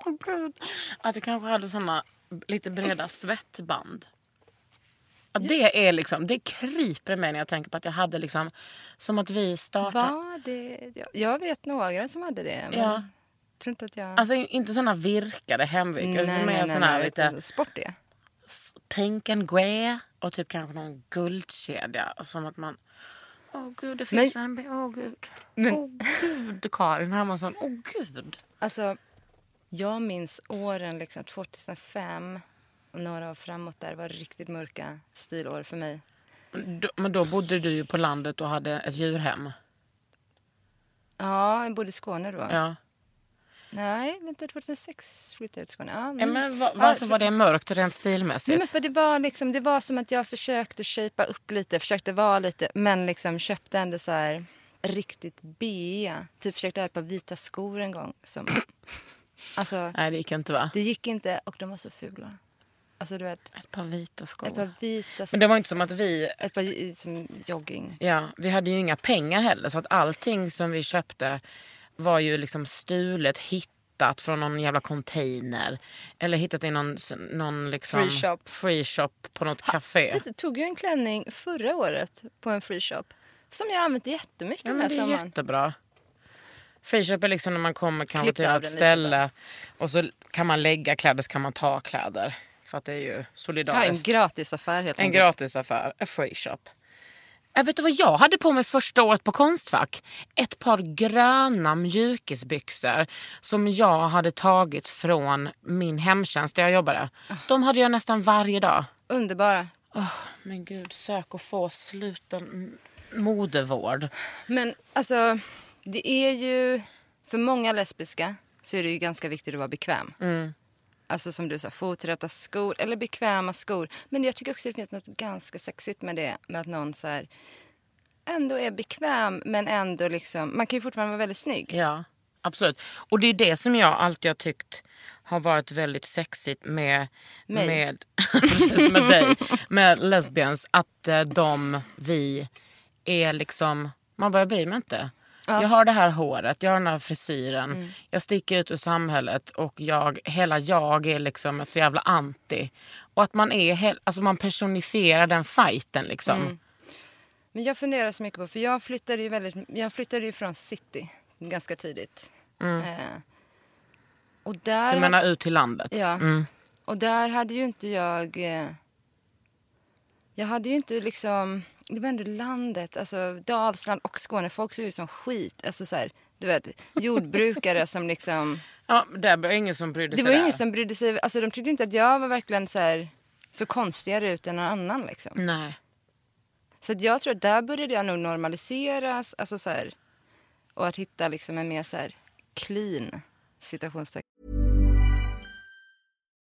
Speaker 1: Åh, gud. Att det kanske hade såna lite breda svettband. Ja, det är liksom, det kryper i mig när jag tänker på att jag hade liksom, som att vi startade...
Speaker 4: Va? Det, jag, jag vet några som hade det. Men
Speaker 1: Ja.
Speaker 4: jag tror inte att jag...
Speaker 1: Alltså in- inte såna virkade hemvirkade, utan mer såna här lite
Speaker 4: Sportiga.
Speaker 1: s- pink and grey och typ kanske någon guldkedja. och Som att man... Åh gud, det finns en... Åh gud. Åh
Speaker 4: Men-
Speaker 1: gud, Karin Hermansson. Åh gud.
Speaker 4: Alltså, jag minns åren liksom 2005 och några år framåt där var riktigt mörka stilår för mig.
Speaker 1: Då- Men då bodde du ju på landet och hade ett djurhem.
Speaker 4: Ja, jag bodde i Skåne då.
Speaker 1: Ja.
Speaker 4: Nej, vänta, 2006 flyttade jag till Skåne. Ja,
Speaker 1: Ja,
Speaker 4: mm.
Speaker 1: men va- varför
Speaker 4: Ja,
Speaker 1: var det mörkt rent
Speaker 4: Nej, men
Speaker 1: stilmässigt?
Speaker 4: för det, var liksom, det var som att jag försökte shapea upp lite, försökte vara lite, men liksom köpte ändå så här riktigt B. Typ försökte ha ett par vita skor en gång. Som, alltså,
Speaker 1: Nej, det gick inte va?
Speaker 4: det gick inte och de var så fula. Alltså du vet,
Speaker 1: Ett par vita skor.
Speaker 4: ett par vita
Speaker 1: Men det var inte som att vi...
Speaker 4: Ett par i- som jogging.
Speaker 1: Ja, vi hade ju inga pengar heller så att allting som vi köpte var ju liksom stulet, hittat från någon jävla container. Eller hittat i någon, någon liksom...
Speaker 4: Free shop.
Speaker 1: Free shop på något café.
Speaker 4: Vet du, tog jag en klänning förra året på en free shop som jag har använt jättemycket
Speaker 1: Ja,
Speaker 4: den här
Speaker 1: men det är
Speaker 4: sommaren.
Speaker 1: jättebra. Frishop är liksom när man kommer kanske
Speaker 4: Klippt
Speaker 1: till
Speaker 4: av
Speaker 1: ett
Speaker 4: den lite
Speaker 1: ställe och så kan man lägga kläder så kan man ta kläder. För att det är ju
Speaker 4: Ja, en
Speaker 1: solidariskt.
Speaker 4: gratisaffär helt
Speaker 1: en
Speaker 4: enkelt.
Speaker 1: gratisaffär, a free shop. Äh, vet du vad jag hade på mig första året på Konstfack? Ett par gröna mjukisbyxor som jag hade tagit från min hemtjänst där jag jobbade. De hade jag nästan varje dag.
Speaker 4: Underbara.
Speaker 1: Men gud, sök och få sluten m- modevård.
Speaker 4: Men alltså, det är ju... För många lesbiska så är det ju ganska viktigt att vara bekväm.
Speaker 1: Mm.
Speaker 4: Alltså som du sa, foträta skor eller bekväma skor. Men jag tycker också att det finns något ganska sexigt med det. Med att någon så här ändå är bekväm men ändå liksom... Man kan ju fortfarande vara väldigt snygg.
Speaker 1: Ja, absolut. Och det är det som jag alltid har tyckt har varit väldigt sexigt med,
Speaker 4: Mig.
Speaker 1: med, precis med dig, med lesbians. Att eh, de, vi, är liksom, man bara, jag bryr mig inte. Jag har det här håret, jag har den här frisyren,
Speaker 4: Mm.
Speaker 1: jag sticker ut ur samhället och jag, hela jag är liksom ett så jävla anti. Och att man är, he- alltså man personifierar den fighten liksom.
Speaker 4: Mm. Men jag funderar så mycket på, för jag flyttade ju, väldigt, jag flyttade ju från city ganska tidigt. Eh, och där...
Speaker 1: Mm. Du menar ut till landet?
Speaker 4: Ja.
Speaker 1: Mm.
Speaker 4: Och där hade ju inte jag... eh, Jag hade ju inte liksom... Det var ändå landet, alltså Dalsland och Skåne. Folk såg ut som skit. Alltså så här, du vet, jordbrukare som liksom...
Speaker 1: Ja, där var ingen som brydde
Speaker 4: Det
Speaker 1: sig
Speaker 4: var ju
Speaker 1: där.
Speaker 4: ingen som brydde sig. Alltså de tyckte inte att jag var verkligen så här... Så konstigare ut än någon annan liksom.
Speaker 1: Nej.
Speaker 4: Så att jag tror att där började jag nog normaliseras. Alltså så här... Och att hitta liksom en mer så här clean situationstecken.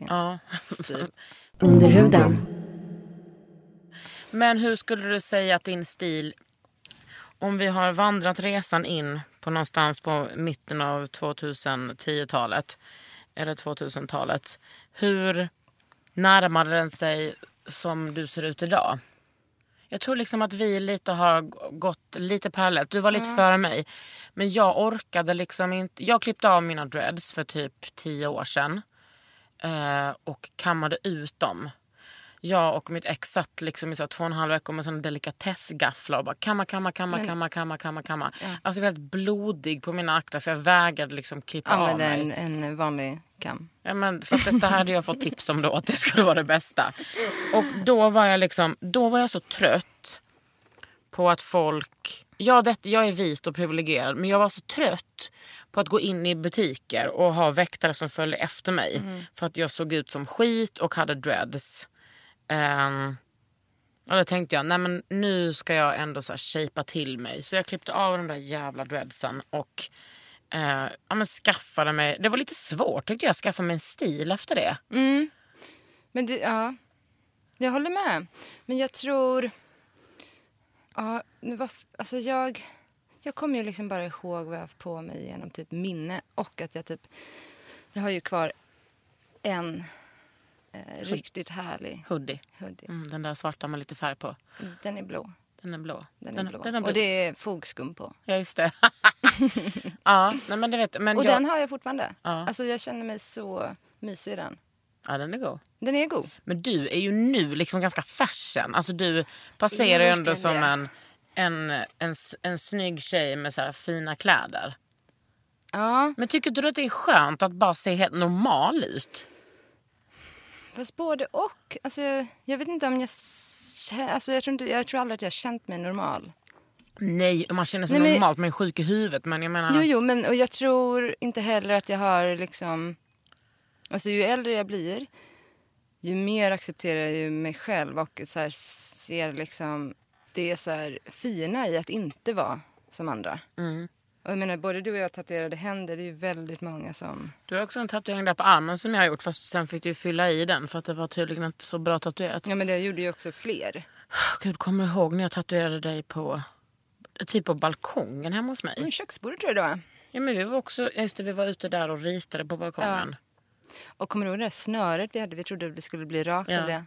Speaker 1: Ja.
Speaker 2: Under huden.
Speaker 1: Men hur skulle du säga att din stil, om vi har vandrat resan in på någonstans på mitten av 2010-talet eller 2000-talet. Hur närmade den sig som du ser ut idag? Jag tror liksom att vi lite har g- gått lite parallellt. Du var lite före mig. Men jag orkade liksom inte. Jag klippte av mina dreads för typ tio år sedan. Eh, och kammade ut dem. Jag och mitt ex satt liksom i så här två och en halv vecka med sån delikatessgafflar och bara kamma, kamma, kamma, kamma, kamma, kamma, kamma. Alltså jag var helt blodig på mina akter för jag vägrade liksom klippa av
Speaker 4: Använda
Speaker 1: mig.
Speaker 4: en, en vanlig kam.
Speaker 1: Ja, men för att detta hade jag fått tips om då, att det skulle vara det bästa. Och då var jag liksom, då var jag så trött på att folk... Ja, det, jag är vit och privilegierad, men jag var så trött på att gå in i butiker och ha väktare som följde efter mig. För att jag såg ut som skit och hade dreads. Ehm, och då tänkte jag, nej men nu ska jag ändå så här shapea till mig. Så jag klippte av de där jävla dreadsen och eh, ja, men skaffade mig, det var lite svårt tyckte jag, att skaffa mig en stil efter det. Mm.
Speaker 4: Men det, ja, jag håller med. Men jag tror... Ja, nu var, alltså jag, jag kommer ju liksom bara ihåg vad jag har haft på mig genom typ minne och att jag typ... Jag har ju kvar en eh, riktigt härlig
Speaker 1: Hoodie.
Speaker 4: hoodie.
Speaker 1: Mm, den där svarta med lite färg på.
Speaker 4: Den är blå.
Speaker 1: Den är blå.
Speaker 4: Den är blå.
Speaker 1: Den är blå.
Speaker 4: Och det är fogskum på.
Speaker 1: Ja, just det. ja, nej, men det vet men
Speaker 4: Och
Speaker 1: jag...
Speaker 4: den har jag fortfarande.
Speaker 1: Ja.
Speaker 4: Alltså jag känner mig så mysig i den.
Speaker 1: Ja, den är god.
Speaker 4: Den är god.
Speaker 1: Men du är ju nu liksom ganska fashion. Alltså du passerar ju
Speaker 4: Jo,
Speaker 1: ändå
Speaker 4: verkligen
Speaker 1: som
Speaker 4: det.
Speaker 1: en, en, en, s- en snygg tjej med så här fina kläder.
Speaker 4: Ja,
Speaker 1: Men tycker du att det är skönt att bara se helt normal ut?
Speaker 4: fast både och. Alltså, jag, jag vet inte om jag... s- kä- Alltså, jag, tror inte, jag tror aldrig att jag har känt mig normal.
Speaker 1: Nej, man känner sig
Speaker 4: Nej, men-
Speaker 1: normalt men är sjuk i huvudet. Men jag menar,
Speaker 4: Jo, jo, men och jag tror inte heller att jag har liksom... Alltså ju äldre jag blir, ju mer accepterar jag ju mig själv och så här, ser liksom det så här fina i att inte vara som andra. Och jag menar, både du och jag tatuerade händer, det är ju väldigt många som...
Speaker 1: du har också en tatuering där på armen som jag har gjort fast sen fick du ju fylla i den för att det var tydligen inte så bra tatuerat.
Speaker 4: Ja, men det gjorde ju också fler.
Speaker 1: Gud, kommer du ihåg när jag tatuerade dig på typ på balkongen hemma hos mig?
Speaker 4: Men köksbordet tror jag det var.
Speaker 1: Ja, men vi var också, just det, vi var ute där och ritade på balkongen.
Speaker 4: Och kommer du ihåg det där snöret vi hade? Vi trodde det skulle bli rakt
Speaker 1: Ja.
Speaker 4: av det.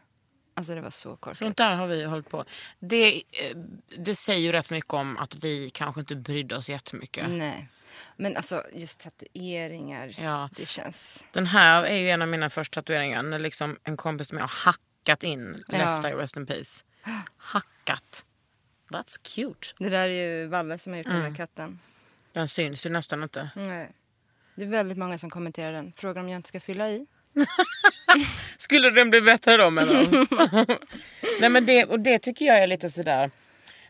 Speaker 4: Alltså det var så korkat.
Speaker 1: Sånt där har vi hållit på. Det, eh, det säger ju rätt mycket om att vi kanske inte brydde oss jättemycket.
Speaker 4: Nej. Men alltså just tatueringar,
Speaker 1: Ja.
Speaker 4: det känns...
Speaker 1: Den här är ju en av mina första tatueringar. När liksom en kompis med har hackat in
Speaker 4: Ja.
Speaker 1: Left Eye Rest In Peace. Hackat. That's cute.
Speaker 4: Det där är ju Valle som har gjort den där katten.
Speaker 1: Den syns ju nästan inte.
Speaker 4: Nej. Det är väldigt många som kommenterar den. Frågar om jag inte ska fylla i.
Speaker 1: Skulle den bli bättre då menar de? Nej men det, och det tycker jag är lite sådär.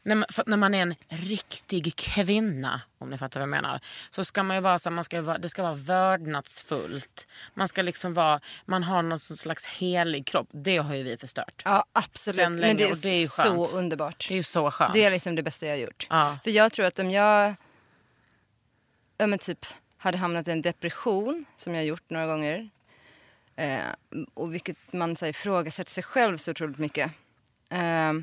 Speaker 1: När man, för att när man är en riktig kvinna, om ni fattar vad jag menar, så ska man ju vara så här, man ska ju vara, det ska vara vördnadsfullt. Man ska liksom vara, man har någon slags helig kropp. Det har ju vi förstört.
Speaker 4: Ja, absolut.
Speaker 1: Sen länge,
Speaker 4: Men det
Speaker 1: och
Speaker 4: är,
Speaker 1: det är ju skönt.
Speaker 4: så underbart.
Speaker 1: Det är ju så skönt.
Speaker 4: Det är liksom det bästa jag har gjort.
Speaker 1: Ja.
Speaker 4: För jag tror att om jag ja, men typ, hade hamnat i en depression, som jag gjort några gånger eh, och vilket man så här, ifrågasätter sig själv så otroligt mycket eh,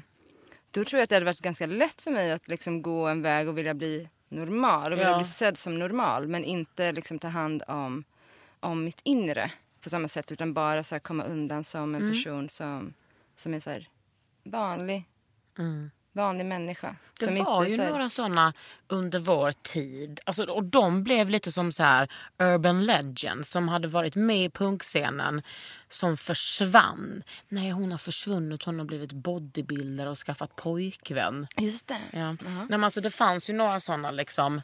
Speaker 4: då tror jag att det hade varit ganska lätt för mig att liksom, gå en väg och vilja bli normal och vilja
Speaker 1: Ja.
Speaker 4: bli sedd som normal men inte liksom, ta hand om, om mitt inre på samma sätt utan bara så här,
Speaker 1: Mm.
Speaker 4: komma undan som en person som, som är så här, vanlig vanlig människa.
Speaker 1: Mm. Det
Speaker 4: som
Speaker 1: var
Speaker 4: inte,
Speaker 1: ju
Speaker 4: så här-
Speaker 1: några såna under vår tid. Alltså, och de blev lite som så här urban legends som hade varit med i punkscenen som försvann. Nej, hon har försvunnit. Hon har blivit bodybuilder och skaffat pojkvän.
Speaker 4: Just det.
Speaker 1: Ja. Nej, men alltså, det fanns ju några såna liksom,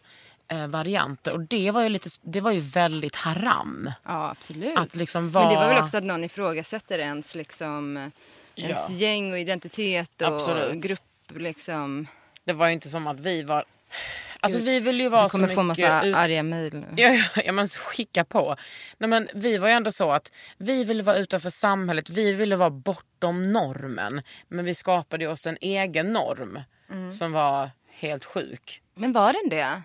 Speaker 1: eh, varianter och det var, ju lite, det var ju väldigt haram.
Speaker 4: Ja, absolut.
Speaker 1: Att liksom
Speaker 4: Men det var väl
Speaker 1: vara-
Speaker 4: också att någon ifrågasätter ens, liksom,
Speaker 1: Ja.
Speaker 4: ens gäng och identitet och
Speaker 1: Absolut.
Speaker 4: grupp. Liksom.
Speaker 1: Det var ju inte som att vi var... Alltså,
Speaker 4: Gud,
Speaker 1: vi ville ju
Speaker 4: Du
Speaker 1: vara så
Speaker 4: kommer
Speaker 1: mycket...
Speaker 4: få massa
Speaker 1: ut-
Speaker 4: arga mejl nu.
Speaker 1: Ja, ja, ja men skicka på. Nej, men vi var ju ändå så att vi ville vara utanför samhället, vi ville vara bortom normen. Men vi skapade ju oss en egen norm
Speaker 4: Mm.
Speaker 1: som var helt sjuk.
Speaker 4: Men var den det?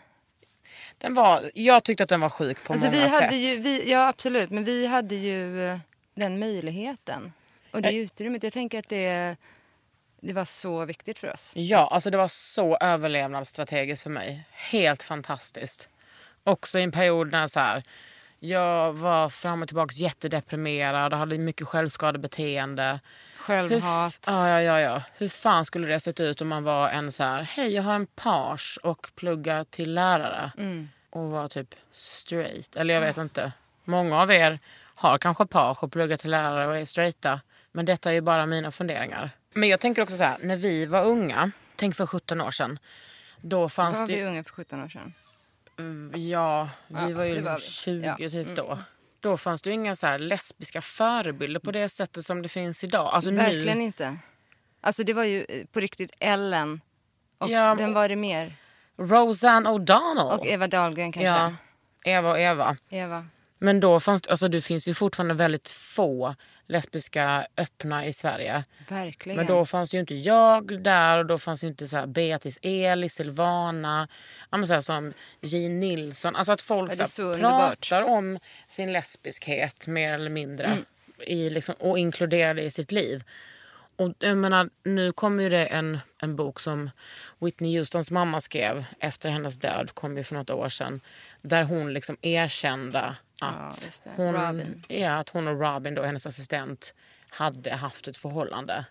Speaker 1: Den var, jag tyckte att den var sjuk på
Speaker 4: Alltså,
Speaker 1: många
Speaker 4: vi
Speaker 1: sätt.
Speaker 4: hade ju, vi, ja, absolut. Men vi hade ju eh, den möjligheten och
Speaker 1: Eh.
Speaker 4: det utrymmet. Jag tänker att det, det var så viktigt för oss.
Speaker 1: Ja, alltså det var så överlevnadsstrategiskt för mig. Helt fantastiskt. Också i en period när så här, jag var fram och tillbaka jättedeprimerad och hade mycket självskadebeteende.
Speaker 4: Självhat.
Speaker 1: Hur, f- ja, ja, ja, ja. Hur fan skulle det sett ut om man var en så här, hej jag har en page och pluggar till lärare.
Speaker 4: Mm.
Speaker 1: Och var typ straight. Eller jag vet
Speaker 4: Ah.
Speaker 1: inte. Många av er har kanske page och pluggar till lärare och är straighta. Men detta är ju bara mina funderingar. Men jag tänker också så här, när vi var unga, tänk för 17 år sedan. Då fanns
Speaker 4: Var
Speaker 1: det
Speaker 4: vi
Speaker 1: ju,
Speaker 4: unga för 17 år sedan?
Speaker 1: ja, vi
Speaker 4: Ja,
Speaker 1: var ju
Speaker 4: det var vi.
Speaker 1: 20
Speaker 4: Ja. Mm.
Speaker 1: typ då. Då fanns det ju inga så här lesbiska förebilder på det sättet som det finns idag. Alltså nu,
Speaker 4: Verkligen inte. Alltså det var ju eh, på riktigt Ellen. Och
Speaker 1: Ja,
Speaker 4: vem var det mer?
Speaker 1: Roseanne O'Donnell.
Speaker 4: Och Eva Dahlgren kanske?
Speaker 1: Ja, Eva och Eva.
Speaker 4: Eva.
Speaker 1: Men då fanns alltså det finns ju fortfarande väldigt få lesbiska öppna i Sverige.
Speaker 4: Verkligen.
Speaker 1: Men då fanns ju inte jag där och då fanns ju inte så här Beatrice Eli, Silvana, ja, men så här som J. Nilsson. Alltså att folk
Speaker 4: Ja,
Speaker 1: så
Speaker 4: det är
Speaker 1: här,
Speaker 4: så underbart. Mm.
Speaker 1: pratar om sin lesbiskhet mer eller mindre i liksom, och inkluderar det i sitt liv. Och jag menar, nu kommer ju det en, en bok som Whitney Houstons mamma skrev efter hennes död, kom ju för något år sedan, där hon liksom erkände att,
Speaker 4: just det.
Speaker 1: hon,
Speaker 4: Robin.
Speaker 1: ja, att hon och Robin, då, hennes assistent, hade haft ett förhållande.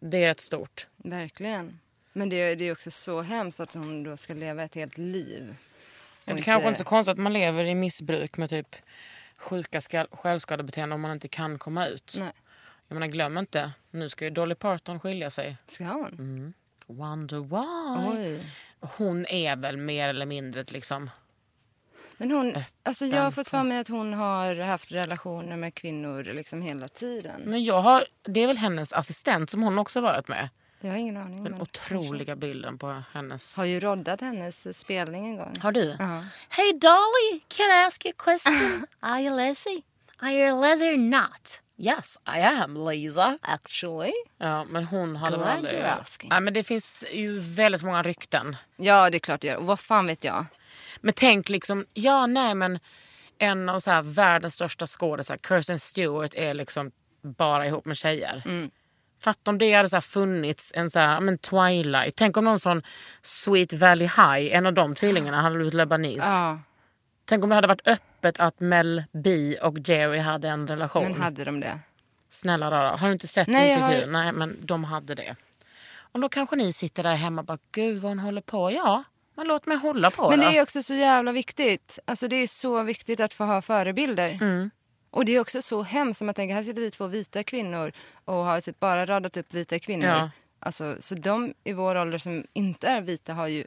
Speaker 1: Det är rätt stort.
Speaker 4: Verkligen. Men det, är- det är också så hemskt att hon då ska leva ett helt liv.
Speaker 1: Det
Speaker 4: Och
Speaker 1: är kanske inte så konstigt att man lever i missbruk med typ sjuka skall- självskadebeteende om man inte kan komma ut.
Speaker 4: Nej.
Speaker 1: Jag menar, glöm inte, nu ska ju Dolly Parton skilja sig.
Speaker 4: Ska hon?
Speaker 1: Mm. Wonder why.
Speaker 4: Oj.
Speaker 1: Hon är väl mer eller mindre ett liksom...
Speaker 4: Men hon, alltså jag har fått för mig att hon har haft relationer med kvinnor liksom hela tiden.
Speaker 1: Men jag har, det är väl hennes assistent som hon också varit med.
Speaker 4: Jag har ingen aning.
Speaker 1: Den
Speaker 4: men
Speaker 1: otroliga bilden på hennes...
Speaker 4: Har ju roddat hennes spelning en gång.
Speaker 1: Har du?
Speaker 4: Ja.
Speaker 1: Hey Dolly, can I ask you a question? Are you lazy? Are you lazy or not? Yes, I am lazy.
Speaker 4: Actually.
Speaker 1: Ja, men hon hade
Speaker 4: Glad
Speaker 1: väl aldrig...
Speaker 4: you're asking.
Speaker 1: Nej, men det finns ju väldigt många rykten.
Speaker 4: Ja, det är klart det gör. Och vad fan vet jag?
Speaker 1: Men tänk liksom, ja nej men en av så här världens största skådisar, Kirsten Stewart, är liksom bara ihop med tjejer. Fatta om det hade så här funnits en så här, ja, men Twilight. Tänk om någon från Sweet Valley High, en av de tvillingarna, hade blivit lebanis.
Speaker 4: Ja,
Speaker 1: Tänk om det hade varit öppet att Mel B och Jerry hade en relation.
Speaker 4: men hade de det?
Speaker 1: Snälla rara, har du inte sett
Speaker 4: Nej, jag
Speaker 1: intervjun? Nej, men de hade det. Och då kanske ni sitter där hemma och bara, gud vad hon håller på. Ja, men låt mig hålla på
Speaker 4: Men
Speaker 1: då.
Speaker 4: det är också så jävla viktigt. Alltså det är så viktigt att få ha förebilder. Och det är också så hemskt som man tänker, här sitter vi två vita kvinnor och har typ bara radat upp vita kvinnor.
Speaker 1: Ja.
Speaker 4: Alltså, så de i vår ålder som inte är vita har ju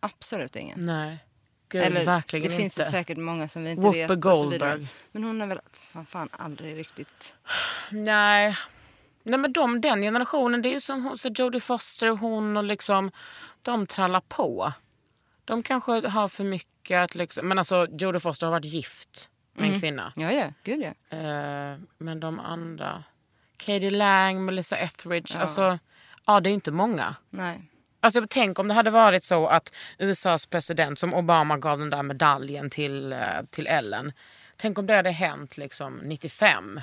Speaker 4: absolut ingen.
Speaker 1: Nej, gud
Speaker 4: Eller
Speaker 1: verkligen
Speaker 4: det
Speaker 1: inte.
Speaker 4: finns ju säkert många som vi inte
Speaker 1: Whoopi
Speaker 4: vet. och så vidare.
Speaker 1: Goldberg.
Speaker 4: Men hon har väl fan, fan aldrig riktigt...
Speaker 1: Nej. Nej men de, den generationen, det är ju som hon, så Jodie Foster och hon och liksom, de trallar på. De kanske har för mycket att liksom, men alltså Jodie Foster har varit gift med
Speaker 4: Mm.
Speaker 1: en kvinna.
Speaker 4: Ja, ja. Gud ja.
Speaker 1: Eh, men de andra, Katie Lang, Melissa Etheridge, alltså ja det är inte många.
Speaker 4: Nej.
Speaker 1: Alltså tänk om det hade varit så att USAs president som Obama gav den där medaljen till, eh, till Ellen. Tänk om det hade hänt liksom 95.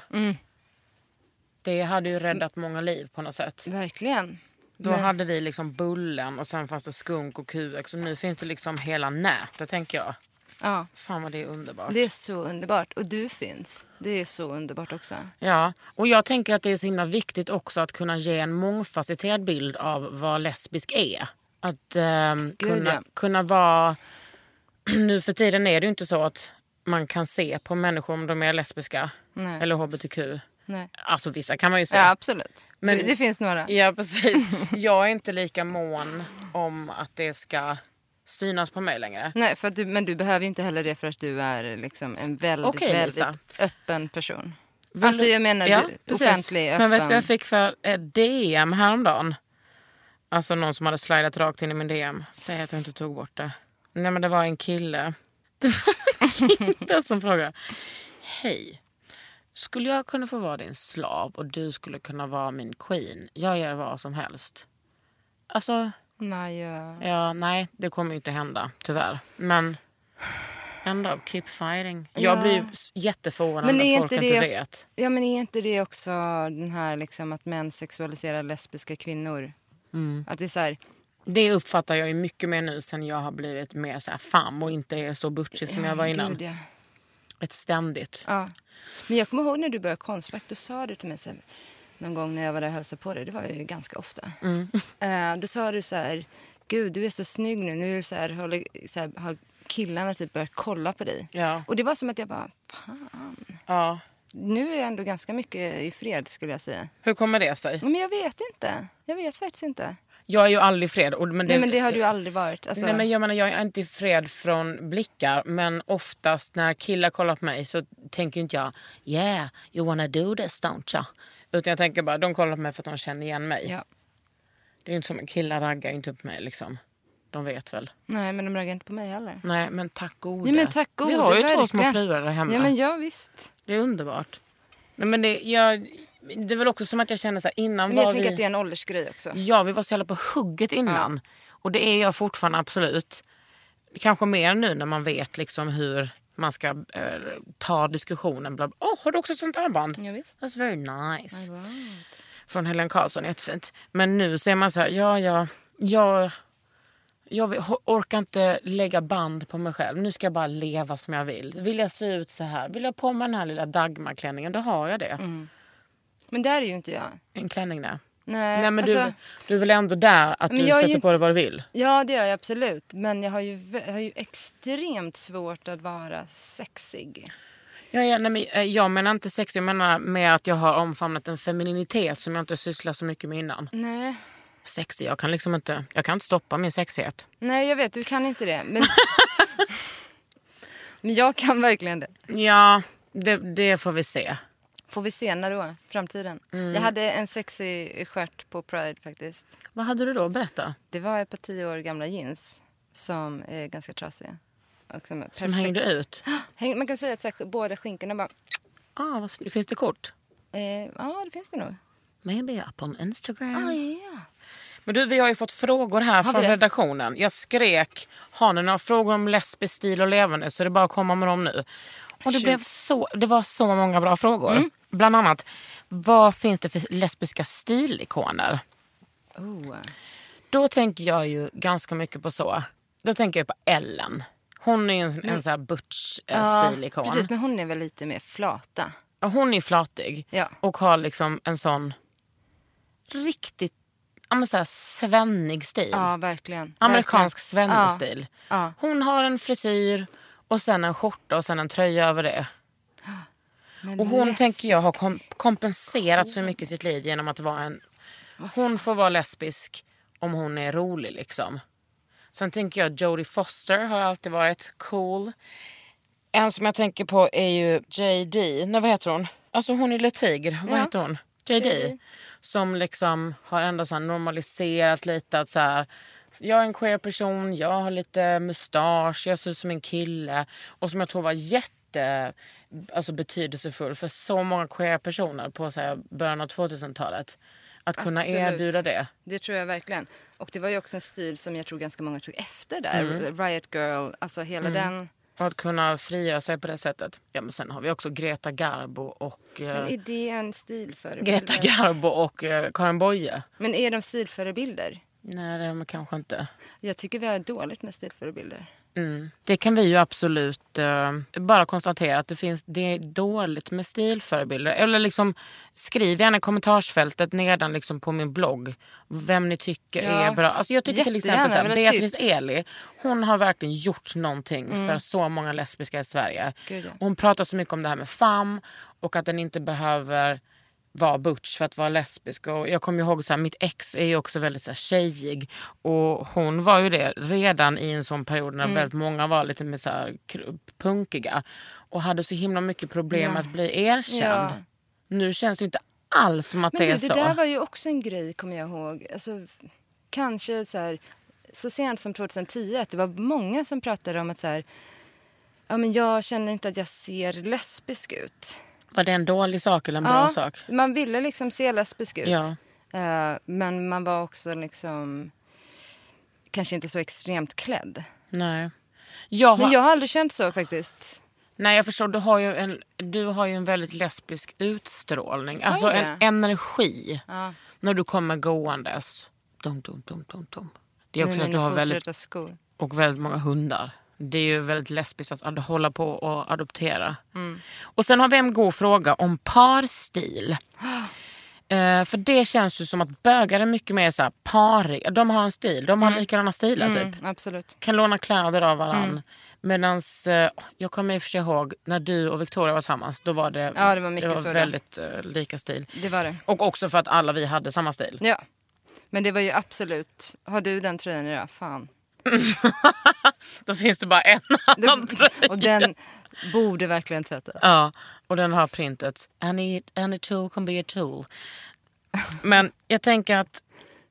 Speaker 1: Det hade ju räddat många liv på något sätt.
Speaker 4: Verkligen.
Speaker 1: Då hade vi liksom Bullen och sen fanns det Skunk och QX och nu finns det liksom hela nätet tänker jag.
Speaker 4: Ja.
Speaker 1: Fan vad det är underbart.
Speaker 4: Det är så underbart. Och du finns. Det är så underbart också.
Speaker 1: Ja, och jag tänker att det är så himla viktigt också att kunna ge en mångfacetterad bild av vad lesbisk är. Att ehm, kunna,
Speaker 4: ja.
Speaker 1: kunna vara... nu för tiden är det ju inte så att man kan se på människor om de är lesbiska
Speaker 4: Nej.
Speaker 1: eller hbtq.
Speaker 4: Nej.
Speaker 1: Alltså vissa kan man ju se.
Speaker 4: Ja, absolut.
Speaker 1: Men-
Speaker 4: Men, det finns några.
Speaker 1: Ja, precis. Jag är inte lika mån om att det ska synas på mig längre.
Speaker 4: Nej, för att du, men du behöver ju inte heller det för att du är liksom en väldigt,
Speaker 1: Okej,
Speaker 4: väldigt
Speaker 1: Lisa.
Speaker 4: öppen person.
Speaker 1: Vill
Speaker 4: alltså
Speaker 1: du-
Speaker 4: jag menar
Speaker 1: Ja,
Speaker 4: du,
Speaker 1: precis.
Speaker 4: offentlig, öppen.
Speaker 1: Men vet du vad jag fick för eh, DM häromdagen? Alltså någon som hade slidat rakt in i min DM. Säg att jag inte tog bort det. Nej men det var en kille. Det var en kille som frågade. Hej. Skulle jag kunna få vara din slav och du skulle kunna vara min queen? Jag gör vad som helst. Alltså,
Speaker 4: Nej, ja.
Speaker 1: ja, nej, det kommer ju inte hända, tyvärr. Men ändå, keep fighting. Jag blir jätteförvånad
Speaker 4: Men
Speaker 1: när
Speaker 4: är
Speaker 1: folk
Speaker 4: inte
Speaker 1: inte
Speaker 4: det-
Speaker 1: vet.
Speaker 4: ja, men är inte det också den här liksom att män sexualiserar lesbiska kvinnor?
Speaker 1: Mm.
Speaker 4: Att det är så här,
Speaker 1: Det uppfattar jag ju mycket mer nu sen jag har blivit mer så här fam och inte är så butchig som jag var innan.
Speaker 4: Gud, ja.
Speaker 1: Ett ständigt.
Speaker 4: Ja. Men jag kommer ihåg när du började konstfack, då sa du till mig så här, någon gång när jag var där och hälsade på dig, det var ju ganska ofta.
Speaker 1: Mm.
Speaker 4: Eh, då sa du så här, gud du är så snygg nu, nu är du så här, håller, så här, har killarna typ börjat kolla på dig.
Speaker 1: Ja.
Speaker 4: Och det var som att jag bara,
Speaker 1: Ja.
Speaker 4: nu är jag ändå ganska mycket i fred skulle jag säga.
Speaker 1: Hur kommer det sig?
Speaker 4: Men jag vet inte, jag vet faktiskt inte.
Speaker 1: Jag är ju aldrig i fred. Och, men det,
Speaker 4: Nej men det har du ju aldrig varit. Alltså,
Speaker 1: Nej, men jag, menar, jag är inte i fred från blickar men oftast när killar kollar på mig så tänker inte jag yeah you wanna do this don't ya? Utan jag tänker bara de kollar på mig för att de känner igen mig.
Speaker 4: ja.
Speaker 1: Det är ju inte som killar raggar ju inte på mig liksom. De vet väl.
Speaker 4: Nej men de raggar inte på mig heller.
Speaker 1: Nej men tack gode.
Speaker 4: Ja, men tack
Speaker 1: Vi
Speaker 4: gode,
Speaker 1: har ju två
Speaker 4: verkligen.
Speaker 1: små fruar där hemma.
Speaker 4: Ja men ja visst.
Speaker 1: Det är underbart. Nej, men det, jag, det är väl också som att jag känner så här, innan
Speaker 4: Men jag
Speaker 1: var
Speaker 4: tänker
Speaker 1: vi... Mm.
Speaker 4: att det är en åldersgrej också.
Speaker 1: Ja, vi var så jävla på hugget innan. Och det är jag fortfarande absolut. Kanske mer nu när man vet liksom hur man ska eh, ta diskussionen. Bla, bla. Åh, har du också ett sånt där band?
Speaker 4: Ja, visst.
Speaker 1: That's very nice. Från Helen Karlsson, jättefint. Men nu så är man så här, ja, ja, jag, jag vill- orkar inte lägga band på mig själv. Nu ska jag bara leva som jag vill. Vill jag se ut så här? Vill jag på mig den här lilla Dagmarklänningen? Då har jag det.
Speaker 4: Mm. Men där är ju inte jag.
Speaker 1: En klänning där.
Speaker 4: Nej,
Speaker 1: Nej, men
Speaker 4: alltså-
Speaker 1: du, du är väl ändå där att
Speaker 4: Men
Speaker 1: du
Speaker 4: jag är
Speaker 1: sätter
Speaker 4: ju
Speaker 1: på dig vad du vill?
Speaker 4: Ja, det gör jag absolut. Men jag har ju, vä- har ju extremt svårt att vara sexig.
Speaker 1: Ja, ja, nej, men, eh, jag menar inte sex, jag menar mer att jag har omfamnat en femininitet som jag inte sysslar så mycket med innan.
Speaker 4: Nej.
Speaker 1: Sexig, jag kan liksom inte, jag kan inte stoppa min sexighet.
Speaker 4: Nej, jag vet. Du kan inte det. Men, men jag kan verkligen det.
Speaker 1: Ja, det, det får vi se.
Speaker 4: Får vi se när då? Framtiden. Jag hade en sexig stjärt på Pride faktiskt.
Speaker 1: Vad hade du då? Berätta.
Speaker 4: Det var ett par tio år gamla jeans som är ganska trasiga. Och som är
Speaker 1: Som hängde ut?
Speaker 4: Häng, man kan säga att så här, båda skinkorna bara...
Speaker 1: Ah, vad snyggt. Finns det kort?
Speaker 4: Eh, ja, det finns det nog.
Speaker 1: Maybe up on Instagram.
Speaker 4: Ah, ja.
Speaker 1: Men du, vi har ju fått frågor här
Speaker 4: vi
Speaker 1: från
Speaker 4: det?
Speaker 1: redaktionen. Jag skrek, har ni några frågor om lesbisk stil och levande så det är bara att komma med dem nu. Och det, blev så, det var så många bra frågor. Bland annat, vad finns det för lesbiska stilikoner?
Speaker 4: Oh.
Speaker 1: Då tänker jag ju ganska mycket på så. Då tänker jag på Ellen. Hon är ju en, en sån här eh, butch-stilikon.
Speaker 4: Precis, men hon är väl lite mer flata.
Speaker 1: Hon är flatig
Speaker 4: Ja.
Speaker 1: och har liksom en sån riktigt ja, men så här, svennig stil.
Speaker 4: Ja, verkligen.
Speaker 1: Amerikansk
Speaker 4: Verkligen. Ja.
Speaker 1: svennestil.
Speaker 4: Ja.
Speaker 1: Hon har en frisyr och sen en skjorta och sen en tröja över det.
Speaker 4: Men
Speaker 1: Och hon
Speaker 4: lesbisk-
Speaker 1: tänker jag har kom- kompenserat så mycket i sitt liv genom att vara en... Hon får vara lesbisk om hon är rolig liksom. Sen tänker jag Jodie Foster har alltid varit cool. En som jag tänker på är ju JD. Nej vad heter hon? Alltså hon är Le Tigre. Vad heter hon? JD. Som liksom har ändå så här normaliserat lite att så här. Jag är en queer person, jag har lite mustasch, jag ser ut som en kille. Och som jag tror var jätte alltså, betydelsefull för så många queer personer på så här, början av 2000-talet. Att kunna
Speaker 4: Absolut.
Speaker 1: erbjuda det.
Speaker 4: Det tror jag verkligen. Och det var ju också en stil som jag tror ganska många tog efter där.
Speaker 1: Mm.
Speaker 4: Riot Girl, alltså hela den.
Speaker 1: Och att kunna frigöra sig på det sättet. Ja, men sen har vi också Greta Garbo och... eh,
Speaker 4: Men är det en stilförebild?
Speaker 1: Greta Garbo och eh, Karin Boye.
Speaker 4: Men är de stilförebilder?
Speaker 1: Nej, det är de kanske inte.
Speaker 4: Jag tycker vi har dåligt med stilförebilder.
Speaker 1: Mm. Det kan vi ju absolut eh, bara konstatera att det finns det är dåligt med stilförebilder. Eller liksom skriv gärna i kommentarsfältet nedan liksom på min blogg vem ni tycker
Speaker 4: Ja.
Speaker 1: är bra. Alltså jag tycker till exempel
Speaker 4: Jättegärna,
Speaker 1: så här,
Speaker 4: vill ha
Speaker 1: Beatrice
Speaker 4: tips.
Speaker 1: Eli, hon har verkligen gjort någonting för så många lesbiska i Sverige.
Speaker 4: Mm. Gud, ja.
Speaker 1: Hon pratar så mycket om det här med fam och att den inte behöver vara butch för att vara lesbisk. Och jag kommer ihåg så här, mitt ex är ju också väldigt så här, tjejig och hon var ju det redan i en sån period
Speaker 4: Mm.
Speaker 1: när väldigt många var lite mer så här, kru- punkiga och hade så himla mycket problem
Speaker 4: Ja.
Speaker 1: att bli erkänd.
Speaker 4: Ja.
Speaker 1: Nu känns det ju inte alls som att
Speaker 4: Men
Speaker 1: det är
Speaker 4: du,
Speaker 1: så.
Speaker 4: det där var ju också en grej, kommer jag ihåg. Alltså, kanske så här, så sent som 2010, att det var många som pratade om att så här, ja, men jag känner inte att jag ser lesbisk ut.
Speaker 1: Var det en dålig sak eller en bra
Speaker 4: ja,
Speaker 1: sak?
Speaker 4: Man ville liksom se lesbisk ut.
Speaker 1: Ja.
Speaker 4: Eh, men man var också liksom kanske inte så extremt klädd.
Speaker 1: Nej. Jag har
Speaker 4: Men jag har aldrig känt så faktiskt.
Speaker 1: Nej, jag förstår. Du har ju en, du har ju en väldigt lesbisk utstrålning. Alltså
Speaker 4: jag
Speaker 1: en
Speaker 4: det?
Speaker 1: energi
Speaker 4: Ja.
Speaker 1: när du kommer gåendes. Dum, dum, dum, dum, dum. Det är också
Speaker 4: med
Speaker 1: att du
Speaker 4: mina
Speaker 1: har väldigt, Mm.
Speaker 4: foträta skor.
Speaker 1: och väldigt många hundar. Det är ju väldigt lesbiskt att ad- hålla på och adoptera.
Speaker 4: Mm.
Speaker 1: Och sen har vi en god fråga om parstil. Eh, för det känns ju som att bögar är mycket mer så här pariga. De har en stil. De har likadana stilar typ
Speaker 4: Mm, absolut.
Speaker 1: kan låna kläder av varandra.
Speaker 4: Mm.
Speaker 1: Medans, eh, jag kommer i och för sig ihåg när du och Victoria var tillsammans. Då var det,
Speaker 4: Ja, det var mycket så, ja.
Speaker 1: väldigt eh, lika stil.
Speaker 4: Det var det.
Speaker 1: Och också för att alla vi hade samma stil.
Speaker 4: Ja. Men det var ju absolut... Har du den tröjan idag? Fan.
Speaker 1: Då finns det bara en
Speaker 4: Det-
Speaker 1: annan tröja.
Speaker 4: och den borde verkligen tvättas.
Speaker 1: Ja, och den har printet any, any tool can be a tool. Men jag tänker att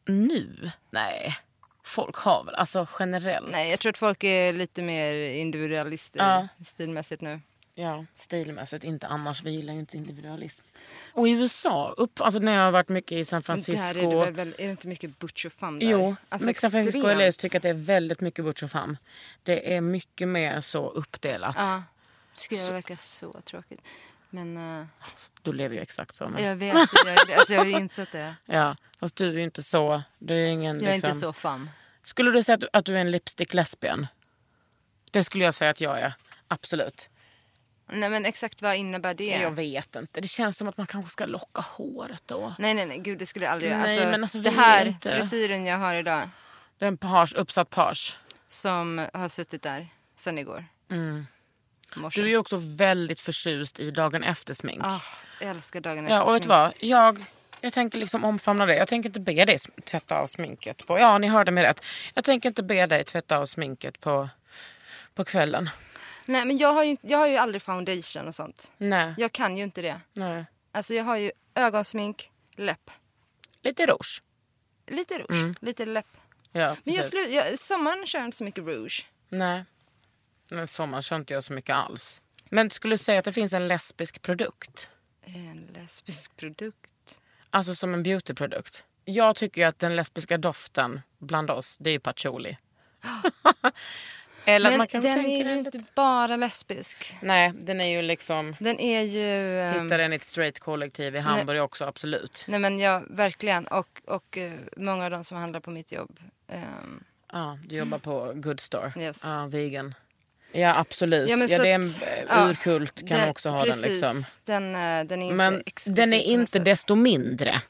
Speaker 1: nu, nej. Folk har väl, alltså generellt.
Speaker 4: Nej, jag tror att folk är lite mer individualister
Speaker 1: Ja.
Speaker 4: stilmässigt nu.
Speaker 1: Ja, stilmässigt. Inte annars. Vi gillar ju inte individualism. Och i USA, upp, alltså när jag har varit mycket i San Francisco.
Speaker 4: Där är det, väl, väl, är det inte mycket butch och fam där?
Speaker 1: Jo,
Speaker 4: Alltså
Speaker 1: men San Francisco och
Speaker 4: extremt.
Speaker 1: LA tycker att det är väldigt mycket butch och fam. Det är mycket mer så uppdelat.
Speaker 4: Ja. Det skulle verka så tråkigt. Men eh,
Speaker 1: Du lever ju exakt så. Men, ja.
Speaker 4: jag vet, jag, alltså, jag har ju insett det.
Speaker 1: Fast du är ju inte så. Du är ingen,
Speaker 4: Jag är inte
Speaker 1: liksom-
Speaker 4: så fam.
Speaker 1: Skulle du säga att, att du är en lipstick lesbian? Det skulle jag säga att jag är. Absolut.
Speaker 4: Nej, men exakt vad innebär det?
Speaker 1: Jag vet inte. Det känns som att man kanske ska locka håret då.
Speaker 4: Nej, nej, nej, gud det skulle jag aldrig göra.
Speaker 1: Nej,
Speaker 4: alltså,
Speaker 1: men alltså, vi
Speaker 4: det
Speaker 1: är
Speaker 4: här
Speaker 1: inte-
Speaker 4: frisyren jag har idag
Speaker 1: Det är en page, uppsatt page.
Speaker 4: som har suttit där sen igår. Morse.
Speaker 1: Mm. Du är ju också väldigt förtjust i dagen efter-smink.
Speaker 4: Ah, jag älskar dagen efter
Speaker 1: Ja, och vet du
Speaker 4: smink.
Speaker 1: vad? Jag, jag tänker liksom omfamna det. Jag tänker inte be dig sm- tvätta av sminket på... Ja, ni hörde mig rätt. Jag tänker inte be dig tvätta av sminket på, på kvällen.
Speaker 4: Nej, men jag har, ju, jag har ju aldrig foundation och sånt.
Speaker 1: Nej.
Speaker 4: Jag kan ju inte det.
Speaker 1: Nej.
Speaker 4: Alltså jag har ju ögonsmink, läpp.
Speaker 1: Lite rouge.
Speaker 4: Lite rouge, lite läpp.
Speaker 1: Ja,
Speaker 4: Men jag
Speaker 1: Mm. precis.
Speaker 4: skulle, jag, sommaren kör jag inte så mycket rouge.
Speaker 1: Nej. Men sommar kör inte jag så mycket alls. Men skulle du säga att det finns en lesbisk produkt?
Speaker 4: En lesbisk produkt.
Speaker 1: Alltså som en beautyprodukt? Jag tycker ju att den lesbiska doften bland oss, det är ju patchouli. Eller att
Speaker 4: Men
Speaker 1: man kan
Speaker 4: den
Speaker 1: tänka
Speaker 4: är ju
Speaker 1: den
Speaker 4: inte
Speaker 1: lite-
Speaker 4: bara lesbisk.
Speaker 1: Nej, den är ju liksom...
Speaker 4: Den är ju... ehm,
Speaker 1: Hittade den i ett straight kollektiv i Hamburg också, absolut.
Speaker 4: Nej men ja, verkligen. Och, och eh, många av de som handlar på mitt jobb. ehm,
Speaker 1: Ja, du jobbar på Good Store.
Speaker 4: Yes.
Speaker 1: Ja, vegan. Ja, absolut. Ja,
Speaker 4: men så
Speaker 1: det är en
Speaker 4: att-
Speaker 1: eh,
Speaker 4: ja,
Speaker 1: urkult kan också ha
Speaker 4: precis,
Speaker 1: den. liksom.
Speaker 4: Den, eh, den är inte
Speaker 1: Men
Speaker 4: explicit
Speaker 1: den är
Speaker 4: på något
Speaker 1: inte
Speaker 4: sätt.
Speaker 1: desto mindre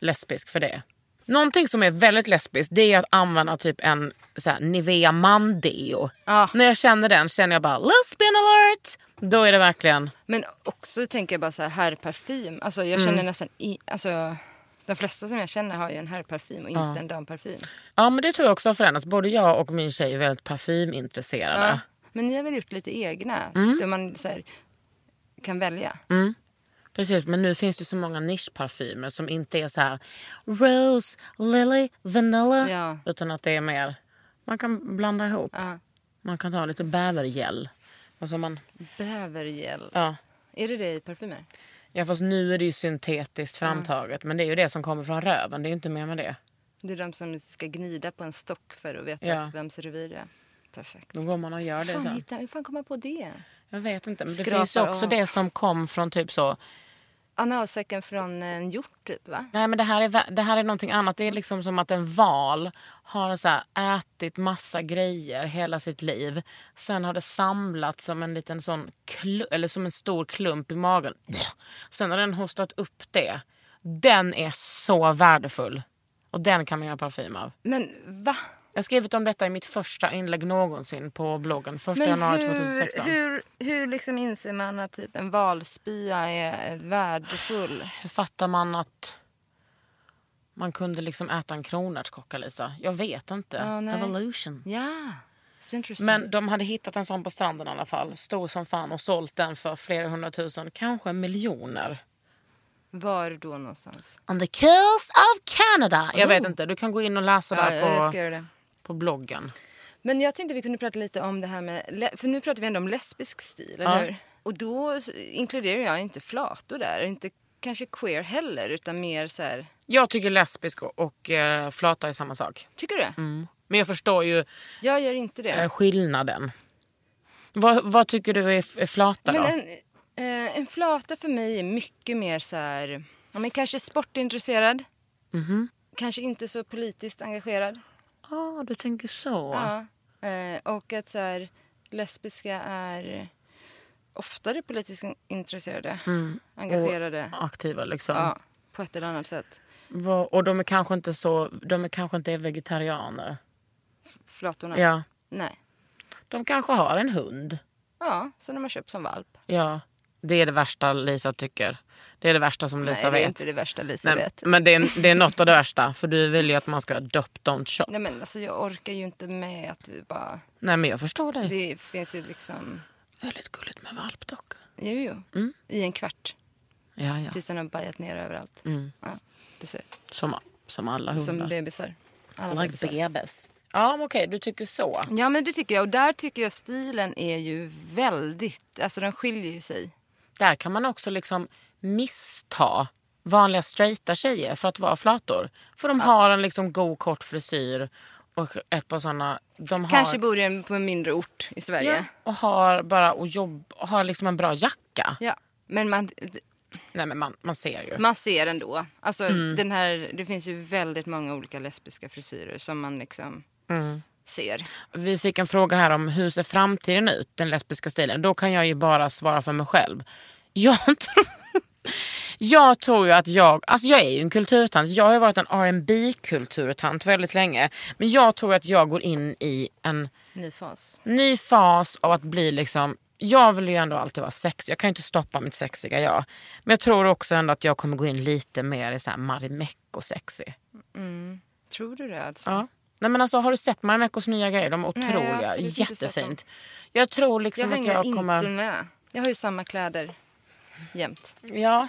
Speaker 1: lesbisk för det. Någonting som är väldigt lesbiskt det är att använda typ en så här, Nivea man deo.
Speaker 4: Ja.
Speaker 1: När jag känner den känner jag bara lesbian alert. Då är det verkligen...
Speaker 4: Men också tänker jag bara så här, herrparfym. Alltså jag
Speaker 1: Mm.
Speaker 4: känner nästan i, alltså de flesta som jag känner har ju en herrparfym och inte en damparfym.
Speaker 1: Ja men det tror jag också har förändrats. Både jag och min tjej är väldigt parfymintresserade.
Speaker 4: Ja. Men ni har väl gjort lite egna?
Speaker 1: Mm.
Speaker 4: Där man så här, kan välja.
Speaker 1: Precis, men nu finns det så många nischparfymer som inte är så här Rose, Lily, Vanilla.
Speaker 4: Ja.
Speaker 1: Utan att det är mer, man kan blanda ihop.
Speaker 4: Ja.
Speaker 1: Man kan ta lite bävergäll. Alltså man,
Speaker 4: Bävergäll.
Speaker 1: ja.
Speaker 4: Är det det i parfymer?
Speaker 1: ja fast nu är det ju syntetiskt framtaget. Men det är ju det som kommer från röven, det är ju inte mer med det.
Speaker 4: Det är de som ska gnida på en stock för att veta
Speaker 1: Ja.
Speaker 4: att vems revir det är. Perfekt.
Speaker 1: Då går man och gör det
Speaker 4: Fan,
Speaker 1: sen.
Speaker 4: hitta, hur fan kom jag på det?
Speaker 1: Jag vet inte men det
Speaker 4: Skrapar
Speaker 1: finns ju också
Speaker 4: av.
Speaker 1: det som kom från typ så
Speaker 4: analsäcken från en hjort typ va?
Speaker 1: Nej men det här, är, vä- det här är någonting annat. Det är liksom som att en val har så här ätit massa grejer hela sitt liv. Sen har det samlats som en liten sån klu- eller som en stor klump i magen. Sen har den hostat upp det. Den är så värdefull. Och den kan man göra parfym av.
Speaker 4: Men va?
Speaker 1: Jag har skrivit om detta i mitt första inlägg någonsin på bloggen. Första
Speaker 4: Men
Speaker 1: januari
Speaker 4: hur,
Speaker 1: 2016.
Speaker 4: hur, hur liksom inser man att typ en valspia är värdefull?
Speaker 1: Hur fattar man att man kunde liksom äta en kronärtskocka, Lisa? Jag vet inte.
Speaker 4: Ja, nej.
Speaker 1: Evolution.
Speaker 4: Ja, it's interesting.
Speaker 1: Men de hade hittat en sån på stranden i alla fall. Stor som fan och sålt den för flera hundratusen, kanske miljoner.
Speaker 4: Var då någonstans?
Speaker 1: On the coast of Canada. Jag vet inte, du kan gå in och läsa
Speaker 4: Ja,
Speaker 1: där
Speaker 4: jag
Speaker 1: på,
Speaker 4: ska göra det.
Speaker 1: på bloggen.
Speaker 4: Men jag tänkte vi kunde prata lite om det här med... le- För nu pratar vi ändå om lesbisk stil, eller
Speaker 1: Ja.
Speaker 4: hur? Och då s- inkluderar jag inte flator där. Inte kanske queer heller, utan mer så här...
Speaker 1: Jag tycker lesbisk och, och eh, flata är samma sak.
Speaker 4: Tycker du det?
Speaker 1: Mm. Men jag förstår ju
Speaker 4: Jag gör inte det.
Speaker 1: eh, skillnaden. Vad, vad tycker du är, är flata då?
Speaker 4: Men en, eh, en flata för mig är mycket mer så här... Ja, men kanske sportintresserad.
Speaker 1: Mhm.
Speaker 4: Kanske inte så politiskt engagerad.
Speaker 1: Ah, du tänker så.
Speaker 4: Ja. Eh, och att så här, lesbiska är oftare politiskt in- intresserade.
Speaker 1: Mm.
Speaker 4: Engagerade.
Speaker 1: Aktiva liksom.
Speaker 4: Ja, på ett eller annat sätt.
Speaker 1: Vad- Och de är kanske inte så, de är kanske inte vegetarianer.
Speaker 4: Flatorna.
Speaker 1: Ja.
Speaker 4: Nej.
Speaker 1: De kanske har en hund.
Speaker 4: Ja, som de har köpt som valp.
Speaker 1: Ja. Det är det värsta Lisa tycker. Det är det värsta som Lisa
Speaker 4: Nej, det är
Speaker 1: vet.
Speaker 4: inte det värsta Lisa
Speaker 1: Nej,
Speaker 4: vet.
Speaker 1: Men det är, det är något av det värsta. För du vill ju att man ska adopt don't shop.
Speaker 4: Nej, men alltså, jag orkar ju inte med att vi bara...
Speaker 1: Nej men jag förstår dig.
Speaker 4: Det finns ju liksom...
Speaker 1: Väldigt gulligt med valp dock.
Speaker 4: Jo, jo. I en kvart.
Speaker 1: Ja, Mm. ja. Mm.
Speaker 4: Tills den har bajat ner överallt. Ja, du ser.
Speaker 1: Som, som alla hundar.
Speaker 4: Som bebisar. Alla
Speaker 1: like
Speaker 4: bebisar.
Speaker 1: bebis. Ja men okej, du tycker så.
Speaker 4: Ja, men det tycker jag. Och där tycker jag stilen är ju väldigt... Alltså den skiljer ju sig.
Speaker 1: Där kan man också liksom missta vanliga straighta tjejer för att vara flator. För de har en liksom god kort frisyr och ett par såna... De har,
Speaker 4: Kanske bor den på en mindre ort i Sverige.
Speaker 1: ja, och har bara och jobb, och har liksom en bra jacka.
Speaker 4: Ja. Men man,
Speaker 1: Nej men man, man ser ju.
Speaker 4: man ser ändå. Alltså,
Speaker 1: Mm.
Speaker 4: den här, det finns ju väldigt många olika lesbiska frisyrer som man liksom
Speaker 1: Mm.
Speaker 4: ser.
Speaker 1: Vi fick en fråga här om hur ser framtiden ut, den lesbiska stilen. Då kan jag ju bara svara för mig själv. Jag tror, jag tror ju att jag, alltså jag är ju en kulturtant. Jag har ju varit en rb kulturtant väldigt länge. Men jag tror att jag går in i en
Speaker 4: Ny fas.
Speaker 1: ny fas av att bli liksom jag vill ju ändå alltid vara sexig. Jag kan ju inte stoppa mitt sexiga jag. Men jag tror också ändå att jag kommer gå in lite mer i så här Marimekko-sexig.
Speaker 4: Tror du det? Alltså?
Speaker 1: Ja. Nej, men alltså, har du sett Marimekkos nya grejer? De är
Speaker 4: Nej, jag har
Speaker 1: otroliga.
Speaker 4: absolut inte sett dem.
Speaker 1: Jättefint. Jag tror
Speaker 4: Jag
Speaker 1: liksom att
Speaker 4: hänger
Speaker 1: jag
Speaker 4: inte
Speaker 1: kommer...
Speaker 4: med. Jag har ju samma kläder jämt.
Speaker 1: Ja.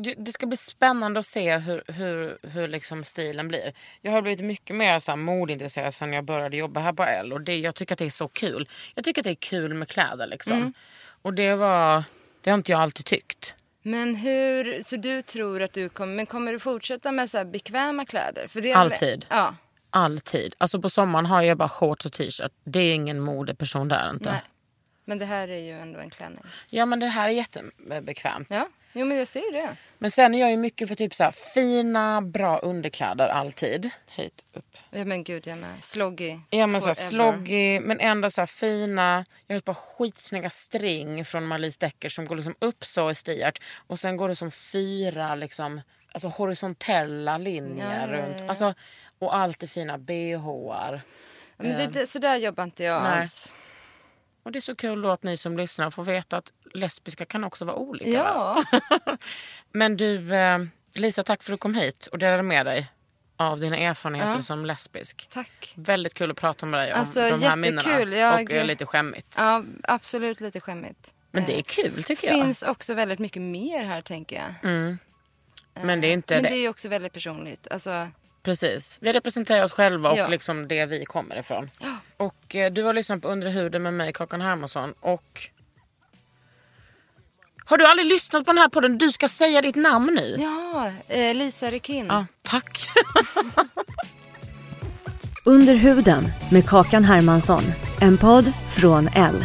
Speaker 1: Det det ska bli spännande att se hur, hur, hur liksom stilen blir. Jag har blivit mycket mer så här modeintresserad sen jag började jobba här på L. Och det, jag tycker att det är så kul. Jag tycker att det är kul med kläder. Liksom.
Speaker 4: Mm.
Speaker 1: Och det, var, det har inte jag alltid tyckt.
Speaker 4: Men hur, så du tror att du kommer, men kommer du fortsätta med så här bekväma kläder? För det
Speaker 1: Alltid.
Speaker 4: Ja,
Speaker 1: Alltid. Alltså på sommaren har jag bara shorts och t-shirt. Det är ingen modeperson där inte.
Speaker 4: nej. Men det här är ju ändå en klänning.
Speaker 1: Ja men det här är jättebekvämt.
Speaker 4: Ja, jo men jag ser ju det.
Speaker 1: Men sen är jag ju mycket för typ så här fina, bra underkläder alltid. Hit upp.
Speaker 4: Ja men gud jag med. Sloggy.
Speaker 1: Ja men så här
Speaker 4: forever.
Speaker 1: sloggy, men ändå så här fina. Jag har ett par skitsnygga string från Marlies Decker som går liksom upp så i stiart. Och sen går det som fyra liksom, alltså horisontella linjer
Speaker 4: Ja, ja, ja,
Speaker 1: runt.
Speaker 4: ja.
Speaker 1: Alltså, och alltid fina bhar.
Speaker 4: Ja, Men det, det, så där jobbar inte jag
Speaker 1: eh. Nej.
Speaker 4: alls.
Speaker 1: Och det är så kul då att ni som lyssnar får veta att lesbiska kan också vara olika. va?
Speaker 4: Ja,
Speaker 1: Men du, eh, Lisa tack för att du kom hit och delade med dig av dina erfarenheter som lesbisk.
Speaker 4: tack.
Speaker 1: Väldigt kul att prata med dig om
Speaker 4: Alltså,
Speaker 1: de här
Speaker 4: jättekul.
Speaker 1: minnena.
Speaker 4: Jag-
Speaker 1: Och eh, lite skämmigt.
Speaker 4: Ja, absolut lite skämmigt.
Speaker 1: Men det
Speaker 4: Eh,
Speaker 1: är kul tycker jag.
Speaker 4: finns också väldigt mycket mer här tänker jag.
Speaker 1: Men det är inte
Speaker 4: Men
Speaker 1: Mm, det.
Speaker 4: det är ju också väldigt personligt. Alltså,
Speaker 1: Precis. Vi representerar oss själva och
Speaker 4: Ja.
Speaker 1: liksom det vi kommer ifrån. Och eh, du har lyssnat på Under huden med mig, Kakan Hermansson. Och... Har du aldrig lyssnat på den här podden? Du ska säga ditt namn nu.
Speaker 4: ja, eh, Lisa Rekin.
Speaker 1: Ja, tack.
Speaker 2: Under huden med Kakan Hermansson. En podd från L.